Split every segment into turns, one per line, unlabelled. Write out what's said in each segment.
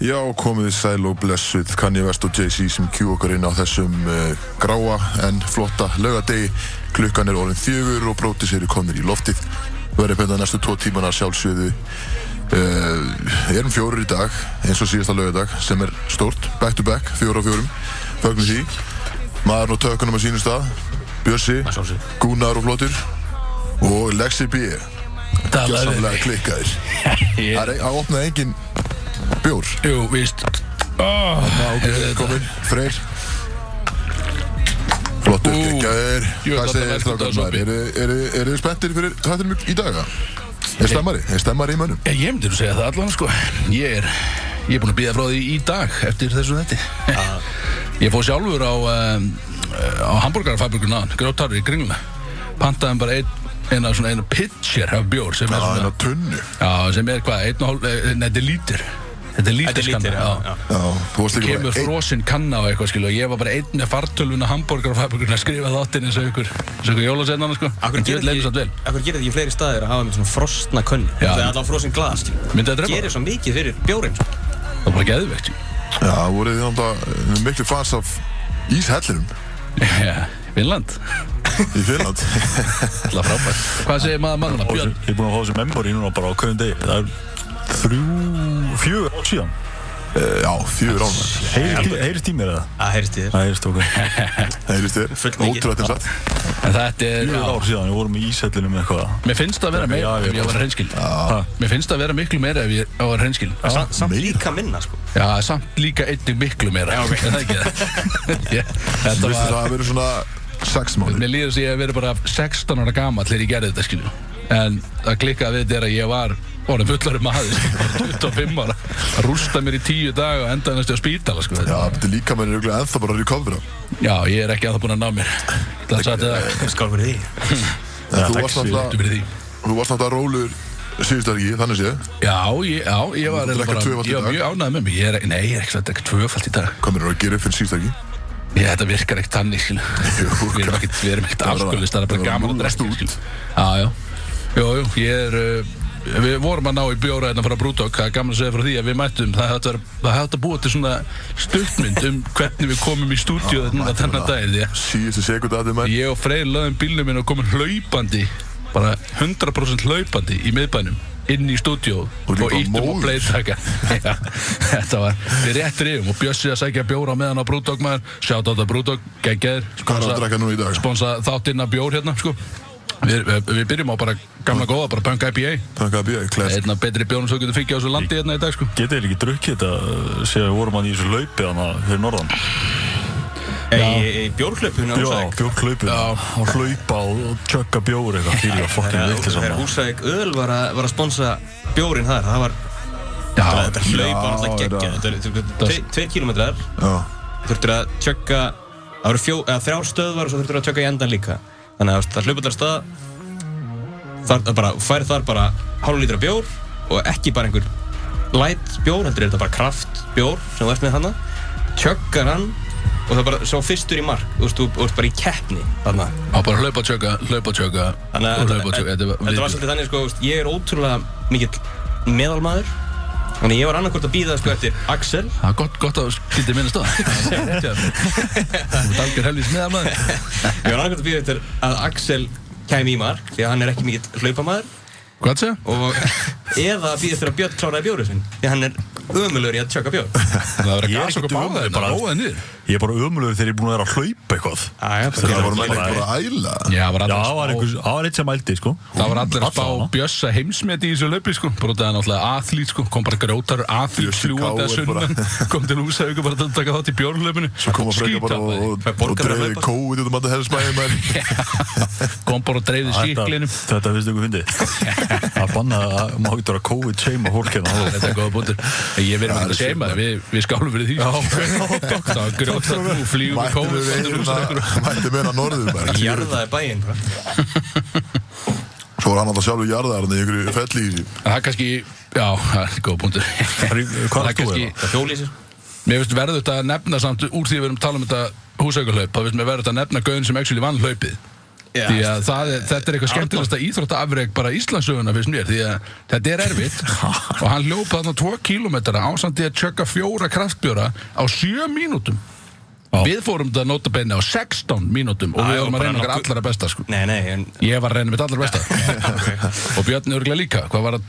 Já, komið þið sæl og blessuð Kanye West og Jay-Z sem kjú okkur inn á þessum uh, gráa en flotta laugadegi. Klukkan er orðin þjögur og brótis eru komnir í loftið. Verðið pönda næstu tvo tímana sjálfsögðu. Uh, erum fjórir í dag, eins og síðasta laugadag, sem er stórt, back to back, fjóra á fjórum. Fögnum því. Maðurinn og tökunum að sínum stað. Bjössi,
sjálfsögðu.
Gunnar og Flótur. Og Lexi B.
Talaðu við
Gjössamlega klikkaðir.
Ég-
Það er að opna engin bjór.
Jú, víst oh,
Velkomin, Freyr Flottur,
Ú,
geggjaður
jú,
Hvað
þetta
segir þér strákar maður?
verður þetta sopi.
Eru eru- eru þið spenntir fyrir þáttunum í dag? eða? Er stemmari? Er stemmari í mönnum?
Ég myndi nú segja það allan sko Ég er, ég er búin að býða frá því í dag eftir þessu þetti
Ah.
Ég fóð sjálfur á, um, á hambúrgarfabrikun aðan, grjóttarri í kringla Pantaði bara ein, eina, svona, eina pitcher af bjór
Ah,
sem er
Það er
svona
að tunnu
Já, sem er hvað, einn og hálf, eh, nei þetta er lítur Þetta er
Þetta
lítur
er lítir,
skanna,
já, já.
já
Já, þú varst líka
Kemur
bara einn
frosinn kanna á eitthvað skilu og ég var bara einn með fartölvuna hambúrgarfabrikun að skrifa þáttinn eins og ykkur, eins og ykkur jólasennana sko
Akkur
En
gerir
djöfull leið mér samt
þetta
vel.
ekki- akkur gerir þetta ekki fleiri staðir að hafa með svona frostna könni
Já.
Það er alltaf frosin glas
Myndi það drepa?
Gerir svo mikið fyrir bjórinn sko.
Það var bara geðveikt, jú.
Já, voruð þið þánda miklu fans af íshellinum
Já, Finnland,
í Finland
alltaf frábært Hvað segir maður mannuna,
Ég
Björn?
er búinn að fá þessi memory núna bara á hverjum degi Það er þrjú, fjögur ár síðan
Eh, Já, fjögur án maður.
Heyrist í mér eða?
Það heyrst ég þér
Það heyrist okkur
Það heyrist þér,
Fullmikið.
ótrúlega þess að
En þetta er,
Fjögur
já,
ár síðan, við vorum í íshellinum með eitthvað
mér finnst það að vera meira
Já, já,
ef ég var hreinskil
Ha,
Mér finnst það að vera miklu meira ef ég var hreinskil
Samt- Samt
meira.
líka minna sko
Já, samt líka einnig miklu meira Er það ekki það? Ég- Þetta
Vistu það
var,
að vera svona sex mánu
mér líður þess að ég hef verið bara 16 ára gamall þegar ég gerði þetta, skilju En að klikka við þetta er að ég var orðin fullari maður, skilju, bara 25 ára að rústa mér í 10 dag og enda næstu á spítala, sko
Já, þetta líka mann er örugglega ennþá bara að recovera
Já, ég er ekki að það búin að ná mér Það sagði það,
Skál fyrir því
En þú
takk
varst
fyrir.
þú
náttúrulega
byrði því
Þú varst náttúrulega rólur síðustu helgi, þannig séð
Já, ég, já, ég var
Þú
eiginlega
drekka
bara,
tvöfalt í
ég var
dag?
mjög ánægð með mig, ég er, nei, ég er ekki að drekka tvöfalt í dag,
Hvað mér er að gera upp fyrir síðustu helgi?
ég, þetta virkar ekkert þannig, skilu, við erum ekkert, við erum ekkert
Það var-
afskjöldist, það er bara
það var
gaman að
núllast
drekka,
út.
skilu, já, já, jú, jú, ég er, uh, við vorum að ná í bjóra hérna frá Brúdók, það er gaman að segja frá því að við mættum, það hætti að, það hætti að búa til svona stuttmynd um hvernig við komum í stúdíu þennan
mættum
þennan
við
daginn, því að
Síðustu sekund að þið menn
ég og Freyr laðum bílnum minn og komum hlaupandi, bara 100% hlaupandi í miðbænum inn í stúdíó
Og
og
líka
íttum og
móður.
playtaka Já, þetta var við rétt rifum og Bjössi að segja bjóra meðan á Brúdók maður sjátt á þetta Brúdók, geggjaður
Hvað er að drekka núna í dag?
sponsa þáttinn af bjór hérna sko. við, við, við byrjum á bara gamla góða, bara Punk IPA
Þannig að býja í
Það er
klæst
einn af betri bjónum sem þú getur fengið á þessu landi hérna í dag sko.
Getið þér ekki drukkið þetta Sér við vorum að í þessu laupi hana fyrir norðan
Í- Í bjórklöpun á
Já,
Húsavík
bjórklaupið Og hlaupa og- og tjögga bjór eitthvað Fyrir að fokkin vilja
Þegar
saman
Húsavík öl var að var að sponsa bjórinn þar Það var
Já,
Þetta hlaupa alltaf
já,
geggja
þetta-
Þetta er- þetta er tve- Tveir kílómetrar
Já,
Þurftur að tjögga Það voru fjó- eða þrjár stöðvar og svo þurftur að tjögga í endan líka Þannig að þú veist, það hlaupa allar stað Þar það bara, fær þar bara hálf lítra bjór Og ekki bara einhver light bjór Heldur er þetta bara kraft bjór sem þú ert með hana Tjöggar hann Og það er bara svo fyrstur í mark Þú veist, þú þú ert bara í keppni þarna
á bara hlaupa tjöka, hlaupa tjöka
Þannig
og
að
hlaupa tjöka
þetta
Þetta var-
var svolítið þannig sko, veist, ég er ótrúlega mikill meðalmaður Þannig ég var annarkvort að býða sko eftir Axel
Það er gott, gott að þú skildir minna stóð Þú dalgar helvís með að maður
Ég var annarkvort að býða eftir að Axel kæmi í mark Því að hann er ekki mikill hlaupamaður
Hvað segja?
og Eða að býða eftir að Björn kláraði bjórið sinn Því að hann er ömulur í að tjöka bjór
Það er að
Ég er
gasa
ekki
okkur báða
duglegur,
þetta
bara-
Róða niður
Ég er bara ömulegur þegar ég er búinn að vera að hlaupa eitthvað
Æja,
það
bara
voru menn
bara-
ekki bara að æla
Já, það var
Já,
allir að
það var
spá
einhver- það var eitt sem ældi sko
Það var allir að spá
Allavega.
Bjössa heimsmet í þessu löpi sko Brotaði náttúrulega athlít sko Kom bara grótar athlít
Bjössi
fljúandi að
Ká er bara-
sunnan Kom til Húsavík og bara til að taka þátt í bjórnlöpinu
Svo koma frekar bara og, og,
Fær
og
borgað að
dreifði
hlaupa.
kóið út um alltaf hellismæði menn
Kom bara og dreifði
Þetta,
skiklinum
þetta finnst ykkur fyndið að banna að maður getur að COVID seima fólk hérna
Þetta er góða bútur Ég verið með þetta seima Við við skálum fyrir því Það var grótar nú Flýjum við
Mættu
kóðum
við hérna
til Húsavík
einna, mættu meina norður bara
jarðaði bæinn bara
Svo var hann alltaf sjálfur jarðar en í einhverju felli í þessu
Það er kannski Já, það er góða bútur
er- hvað
Það
ert þú
kannski
eiginlega?
Það fjólið sér
Mér finnst verður þetta að nefna samt úr því að við erum að tala um þetta húsaukarhlaup þá finnst mér verður þetta að nefna gauðin sem actually vann hlaupið
Já,
Því að það er, þetta er eitthvað skemmtilegasta íþróttaafreg bara Íslandsöfuna fyrst mér Því að þetta er erfitt Og hann ljópa þarna 2 kilometra ásandi að tjöka fjóra kraftbjóra á 7 mínútum Við fórum þetta nota bene á 16 mínútum og
Já,
við
já,
vorum að
bara
reyna okkar
nokkuð-
allra besta sko.
Nei, nei, en
Ég var að reyna mitt allra besta Og Björn örgulega líka, hvað var að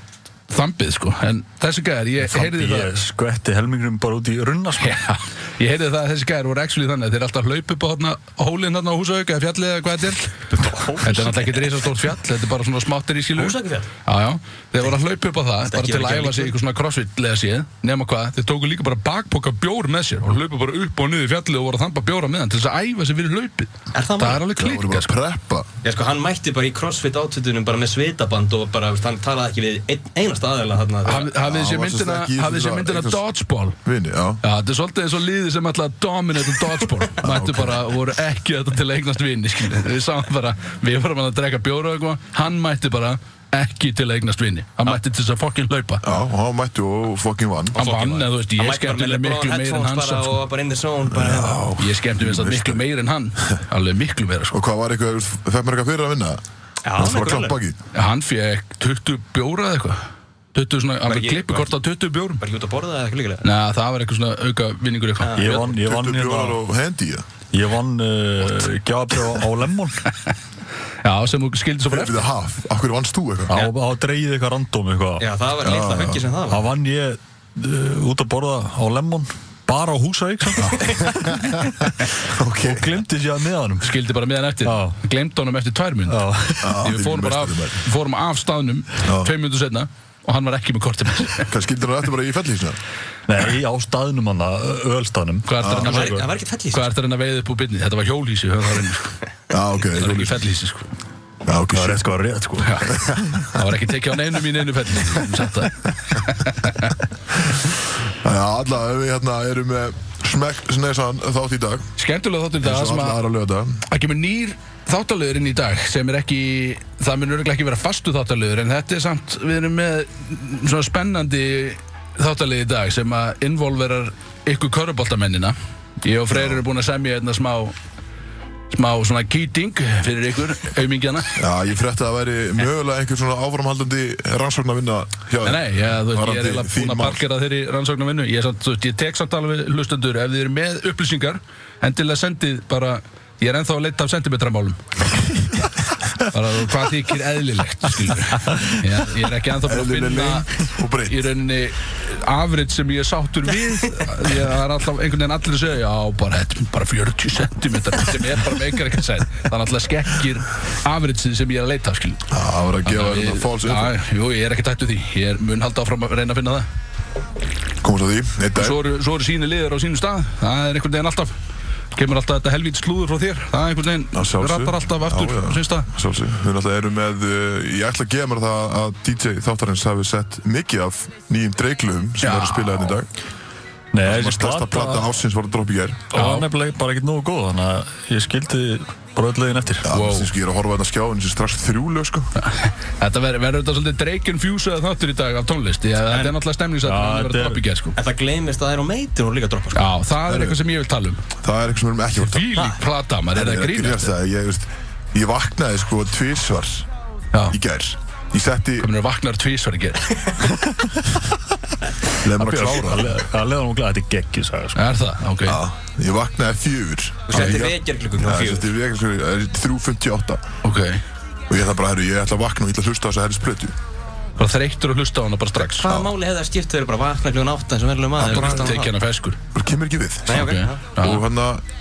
þambið sko En þessi gæðar, ég heyrði
Þannig
það
ég skvetti helmingnum bara út í runna sko.
Já, ég heyrði það að þessi gæðar voru actually þannig að Þeir alltaf hlaup upp á hólinn hólin hérna á húsauk eða fjallið eða hvað þetta er Þetta er náttúrulega ekki reysastórt fjall Þetta er bara svona smáttir í sílu
Húsavíkurfjall?
Já, já, þeir voru að hlaupa upp á það Bara
ekki
til að
verið
æfa sig í eitthvað svona crossfit leða séð Nefna hvað, þeir tóku líka bara bakpoka bjór með sér Og hlaupa bara upp og niður fjallið og voru að þamba bjóra meðan Til þess að æfa sig fyrir hlaupið
Er það
Það
málið?
er alveg
Það voru
klíka
bara að preppa
Já, sko, hann mætti bara í crossfit átutunum bara með svitaband og bara, veist, hann talaði ekki við ein, einast aðeila þarna
Hafið hafið
Já,
sér
varstu
myndina,
ekki í
hafið
þessu-
sér myndina
eitthvað-
dodgeball
Vini, já
Já, þetta er svolítið eins og liðið sem ætlaði að dominate um dodgeball Mættu bara, voru ekki þetta til að eignast vini skilurðu. Við sáum bara, við vorum að drekka bjóra og eitthvað Hann mætti bara ekki til að eignast vini Hann mætti til þess að fokkin hlaupa
Já, og hann mætti og fucking vann
Hann vann, eða þú veist,
Hann
ég
mætti bara
skemmti
með
mér miklu
LeBron
meir en
headphones
hann
bara
samt, sko.
og bara in the zone bara, já.
Ég skemmti mér samt miklu meir en hann Alveg miklu meira, sko
Og hvað var eitthvað, fekk maður eitthvað fyrir að vinna? það
Já,
var
einhver
að klappa
alveg.
ekki
Hann fekk 20 bjóra eða eitthvað 20 svona, hann
ég-
fekk klippi kort á 20 bjórum
Bara ekki út að borða eða eitthvað líkilega
Nei, það var eitthvað svona auka vinningur eitthvað
Ég vann, ég vann,
20 bjórar
hérna,
og hendi ég
ég vann uh, gjafabrjóð á Lemmon
Já, sem þú skildi svo bara
Fyrir
eftir
það haf, af hverju vannst þú eitthvað?
á, á dreigið eitthvað random eitthvað
Já, það var litla huggi sem það var
Það vann ég uh, út að borða á Lemmon bara á Húsavík sko. samt.
Ok
og glimti sér að neðanum
skildi bara meðan eftir,
Já.
glemd honum eftir tvær minn
Já.
Já,
við fórum bara af,
meistarar.
við fórum af staðnum tveim minnum setna og hann var ekki með kortið með sér.
Hvað skildir hann eftir bara í fellísina?
Nei, á staðnum hann, ölstaðnum
hvað er
Það
þetta að
var- það var sko.
reyna
ekkert fellís
hvað er þetta að reyna að veiða upp úr byrni þetta var hjólhísi það var, sko.
Já, ok
það var ekki
hjólið.
fellhísi sko.
Já, ok,
Það er
shit
eitthvað rétt sko
Já. það var ekki tekið á neinum í neinu fellhísi við getum sagt það.
Já, alla, ef við hérna erum með smekk snesan þátt í dag
skemmtulega þáttur þetta
Svo
sem
alla
að
aðra löða
það kemur nýr þáttalöður inn í dag sem er ekki, það mun örgulega ekki vera fastu þáttalöður en þetta er samt, við erum með svona spennandi þáttalöð í dag sem að involverar ykkur köruboltamennina ég og Freyr eru búin að semja einna smá smá svona kýting fyrir ykkur, aumingjana
Já, ég frétti að það væri mögulega einhver svona áframhaldandi rannsókn að vinna hjá
Nei, nei, já, þú veist, ég er
Varðandi
eiginlega
þín
búin að
mál.
parkera þeirri rannsóknarvinnu ég, er samt, þú veist, ég tek samt alveg hlustendur ef þið eru með upplýsingar endilega sendið bara ég er ennþá að leita af sentimetramálum bara þú- hvað þykir eðlilegt skilur ég, ég er ekki ennþá búin að finna
Eðlileg og breytt.
í rauninni afrið sem ég er sáttur við ég er alltaf einhvern veginn allir að segja já, bara, þetta er bara 40 sentimetrar sem er bara með einhver ekkert sæð þannig alltaf skekkir afriðsið sem ég er að leita skilur
Já, Það var að gefa
Við-
hérna fáls
Já, Jú, ég er ekki tættu því Ég er mun halda áfram að reyna að finna það
Komast að því, einn dag
Svo eru, svo eru síni liðar á sínu stað Það er einhvern veginn alltaf Kemur alltaf þetta helvít slúður frá þér Það er einhvern
Að
veginn
sjálfsögðu.
Rattar alltaf aftur
Já, já.
á sínu stað
Sjálfsög, við náttúrulega erum með uh, ég ætla að gefa mér það að DJ Þáttarins hafi sett mikið af nýjum dreiklum sem
Já.
eru að spila hérna í dag
Nei,
sem að
þessi
stærsta plata
plata
ásins var að droppa í gær
Það var nefnilega bara ekkert nógu góð Þannig að ég skildi bara öll lögin eftir
wow. sem ég er að horfa hérna á skjáin sem strax þrjúlu sko.
Þetta verður verður þetta svolítið Drake fjúsaði þáttur í dag af tónlist Því að Þetta er náttúrulega stemningsætt
Já,
Það er
þetta
að
er-
drapa í gerð sko
En það gleymist að það er á meitir og líka að droppa sko.
Já, það er eitthvað sem ég vil tala um
það er eitthvað sem við erum ekki að
Fílík plata, maður
Ég
er það
að
grínast
grínast það, ég, veist, ég vaknaði sko tvísvar í
Já,
gær ég setti,
komin að vaknar tvísvar í gerð
leið mér að klára það.
Það leða nú glæði Þetta er geggjus sagði, sko.
Er það? Ok
Já, ég vaknaði fjögur
Þú settir vekjarklukku klukkan
ég
fjögur.
setti vekjarklukkan 3.58
Ok
og ég ætla bara, herru, ég ætla að vakna og ég ætla að hlusta á þessa herris plötu
Bara þreyttur að hlusta á hana bara strax
Hvaða máli hefði það skipt þegar bara vakna klukkan átta eins og verðilega maður?
bara
Hlustaði á
Tekja hana feskur
og kemur ekki við
Nei, ok.
Ok, já.
og hann að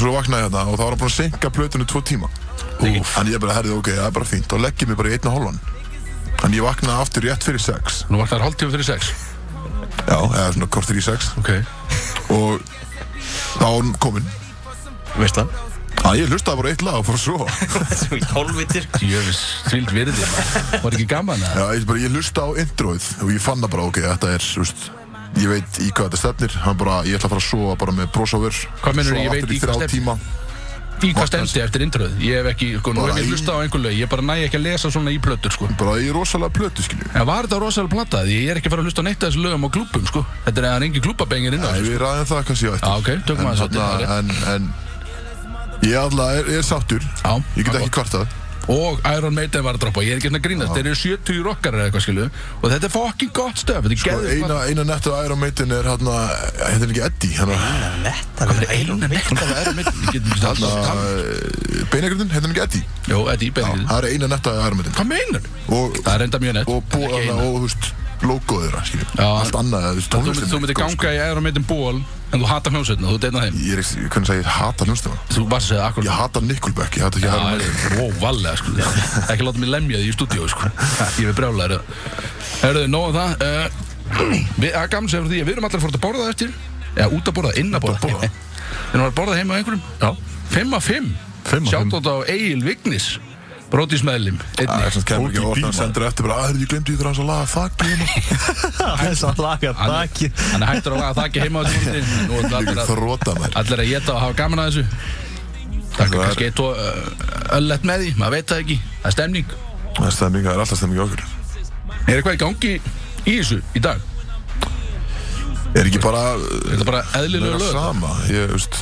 svo vaknaði hérna og þá var hann búinn að senka plötunni tvo tíma en ég bara herði ok, það er bara fínt þá legg ég mig bara í einna hólvan en ég vaknaði aftur rétt fyrir sex
Nú vaknar hálftíma fyrir sex
já, eða svona kortir í sex
Ok
og þá var hann kominn
hana. Veist það?
að ég hlustaði bara eitt lag og fór að sofa
Þessu í hálfvitir.
Jöfis, þvíld virði maður. Var ekki gaman að
já, ég, bara, ég hlustaði á introið og ég fann það bara ok, þetta er, þú veist ég veit í hvað þetta stefnir hann bara, ég ætla að fara að sofa bara með brósáver
Hvað meinarðu, ég veit í hvað stefnir?
tíma
Í hvað stemdi eftir introð Ég hef ekki, sko, nú
Bara
hef ég
í-
hlusta á einhver lög Ég bara næ ekki að lesa svona í plötur, sko
bara í rosalega plötu, skilju
En var þetta rosalega plata? Því ég er ekki að fara að hlusta á neitt af þessu lögum á klúbum, sko Þetta er að það er engin klúbabengir inn á
Nei,
þessu
við ræðum það kannski á eftir
Já, ok, tökum
En
aðeins á
þarna-
þetta,
En, en Ég alltaf er, er sáttur
Já,
Ég get
það er
ekki kvartað
og Iron Maiden var að droppa ég er ekki svona að grínast, þeir eru 70 rockar eða eitthvað skilu og þetta er fucking gott stöf þetta er
Og
geðveikt
eina, eina nettu að Iron Maiden er hérna Hérna er ekki Eddie Hérna
Netta
gott. Eina netta með Iron Maiden ég get ekki alltaf tala
Beinagrindin, hérna er ekki Eddie
Jó, þetta er íbæðið
Það er eina netta að Iron Maiden
Hvað meinar?
Og,
Það er enda mjög nett
og
en
búið
ekki
hana
eina.
og, þú veist, logoð þeirra, skiljum
Já.
Allt annað, þú veist,
Þú myndir-
tónlistin
Þú myndir ganga í Iron Maiden ból en þú hatar hljómsveitina, þú deitna þeim
Ég er ekki, hvernig sagði, ég hata hljómsdæma
Þú varst að segja akkur
Ég hata Nickelback, ég hata ekki Iron Maiden
Wow, vallega sko Ekki láta mig lemja því í stúdíu sko Ég við brjálæður eh. Herðu, nóg um það uh, Við, að gamla segir því að við erum allir að fara að borða eftir Eða út að borða, inn að borða Við erum að borða heima á einhverjum Já 5 af 5
Fimm af fimm.
Sjátt á Egil Vignis Brótismæðlim
Það er
Einnig
svona kemur ekki
Fólk í
ofta
bíl,
að sendur eftir bara að ég glemdi ég þurra hans að laga fuck you
Þess að laga baki
Hann er hættur að laga þakki heima á þessu Nú er allir
Ég
að
þróta mér
Allir að geta og hafa gaman að þessu Takk
Það er-
kannski eitt og uh, öllett með því, maður veit það ekki Það er stemning
Það er stemming, það er alltaf stemming í okkur
Er eitthvað í gangi í þessu í dag?
Er ekki bara eh,
Er þetta bara eðlilega
Meira
lög?
sama, ég veist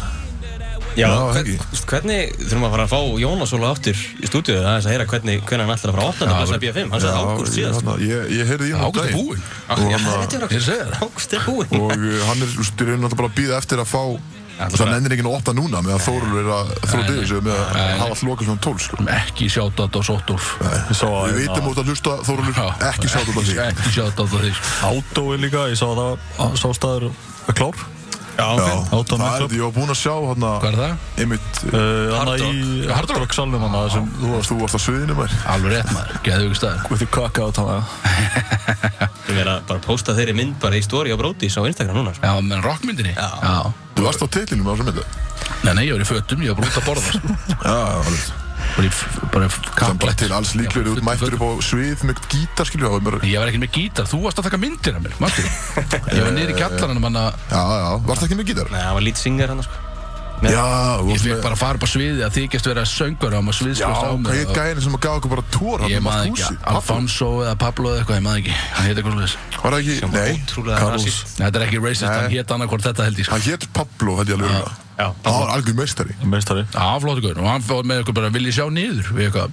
Já,
Já,
hvern-
ekki.
þú veist, hvernig þurfum að fara að fá Jónas Óla aftur í stúdíu það er að heyra hvernig, hvernig hann ætlar að fara á 8.
Já,
plass að
bara-
BFM hann sagði
Já,
ágúst
ég-
síðast
þarna- Ég, ég heyrði í hann um
Ágúst er
daginn.
búinn.
Og hann að-
Ég er að segja það.
Ágúst er búinn
og uh, hann er, þú veist, er náttúrulega bara að býða eftir að fá
það
þannig
bara-
ennir enginn að opna núna meðan Þórul er að þróta
Nei,
yfir sig með
nei,
að hafa allt lokað svona 12 sko.
Ekki sjátat á Sottolf.
Svo að
Við
hérna,
vitum út að hlusta Þórul ekki sjátt út af því
Ekki sjátat á því. sko.
Átó er líka, ég sá það að sá staður er klár
Já, ok
Já,
Átó
það
með
er
klub
því, ég var búinn að sjá hann
Hvað
að
er það?
einmitt, uh,
Hanna Eh,
Hard
í
Rock.
Hardrock salnum hann sem
þú varst, þú varst á sviðinu mær
Alveg rétt maður, geðu ykkur staður.
with the cock out hann
Ég verða bara að posta þeirri mynd bara í stóri á Brótis á Instagram núna sko.
Já, menn rockmyndinni?
Já.
Já.
Þú varst á titlinum á þessu myndu
Nei, nei, ég var í fötum, ég var bara út að borða. sko.
Já, alveg
Bara í, f- bara í
Það er bara
kapplætt.
til alls líklega, þú ert mættur upp á svið með gítar, skilju, það var mér
Ég var ekki með gítar, þú varst að taka myndir af mér, mannstu? Ég var niður í kjallarinn, manna,
Já, já, varst ekki með gítar?
Nei, hann var lít syngar hann sko.
Já, þú
ég
varst
fekk
með
bara að fara upp á sviði að þykjast vera söngur á maður
Já,
sviðslust á
hvað
mig.
heit
og-
gæðin sem að gaf okkur bara tór
Ég
hann
maður
um
ekki,
húsi?
Alfonso eða Pablo eða eitthvað, ég maður ekki. Hann heit eitthvað slúðis.
Var það ekki,
Sem var
nei,
ótrúlega
Carlos
rasist.
Þetta er ekki racist,
Nei.
hann hétt annarkvort þetta held ég sko.
Hann hétt Pablo, held ég alveg örugglega.
Já,
Það var algjör meistari
meistari
Já, flottu guður, og hann fór með eitthvað bara vil ég sjá niður við eitthvað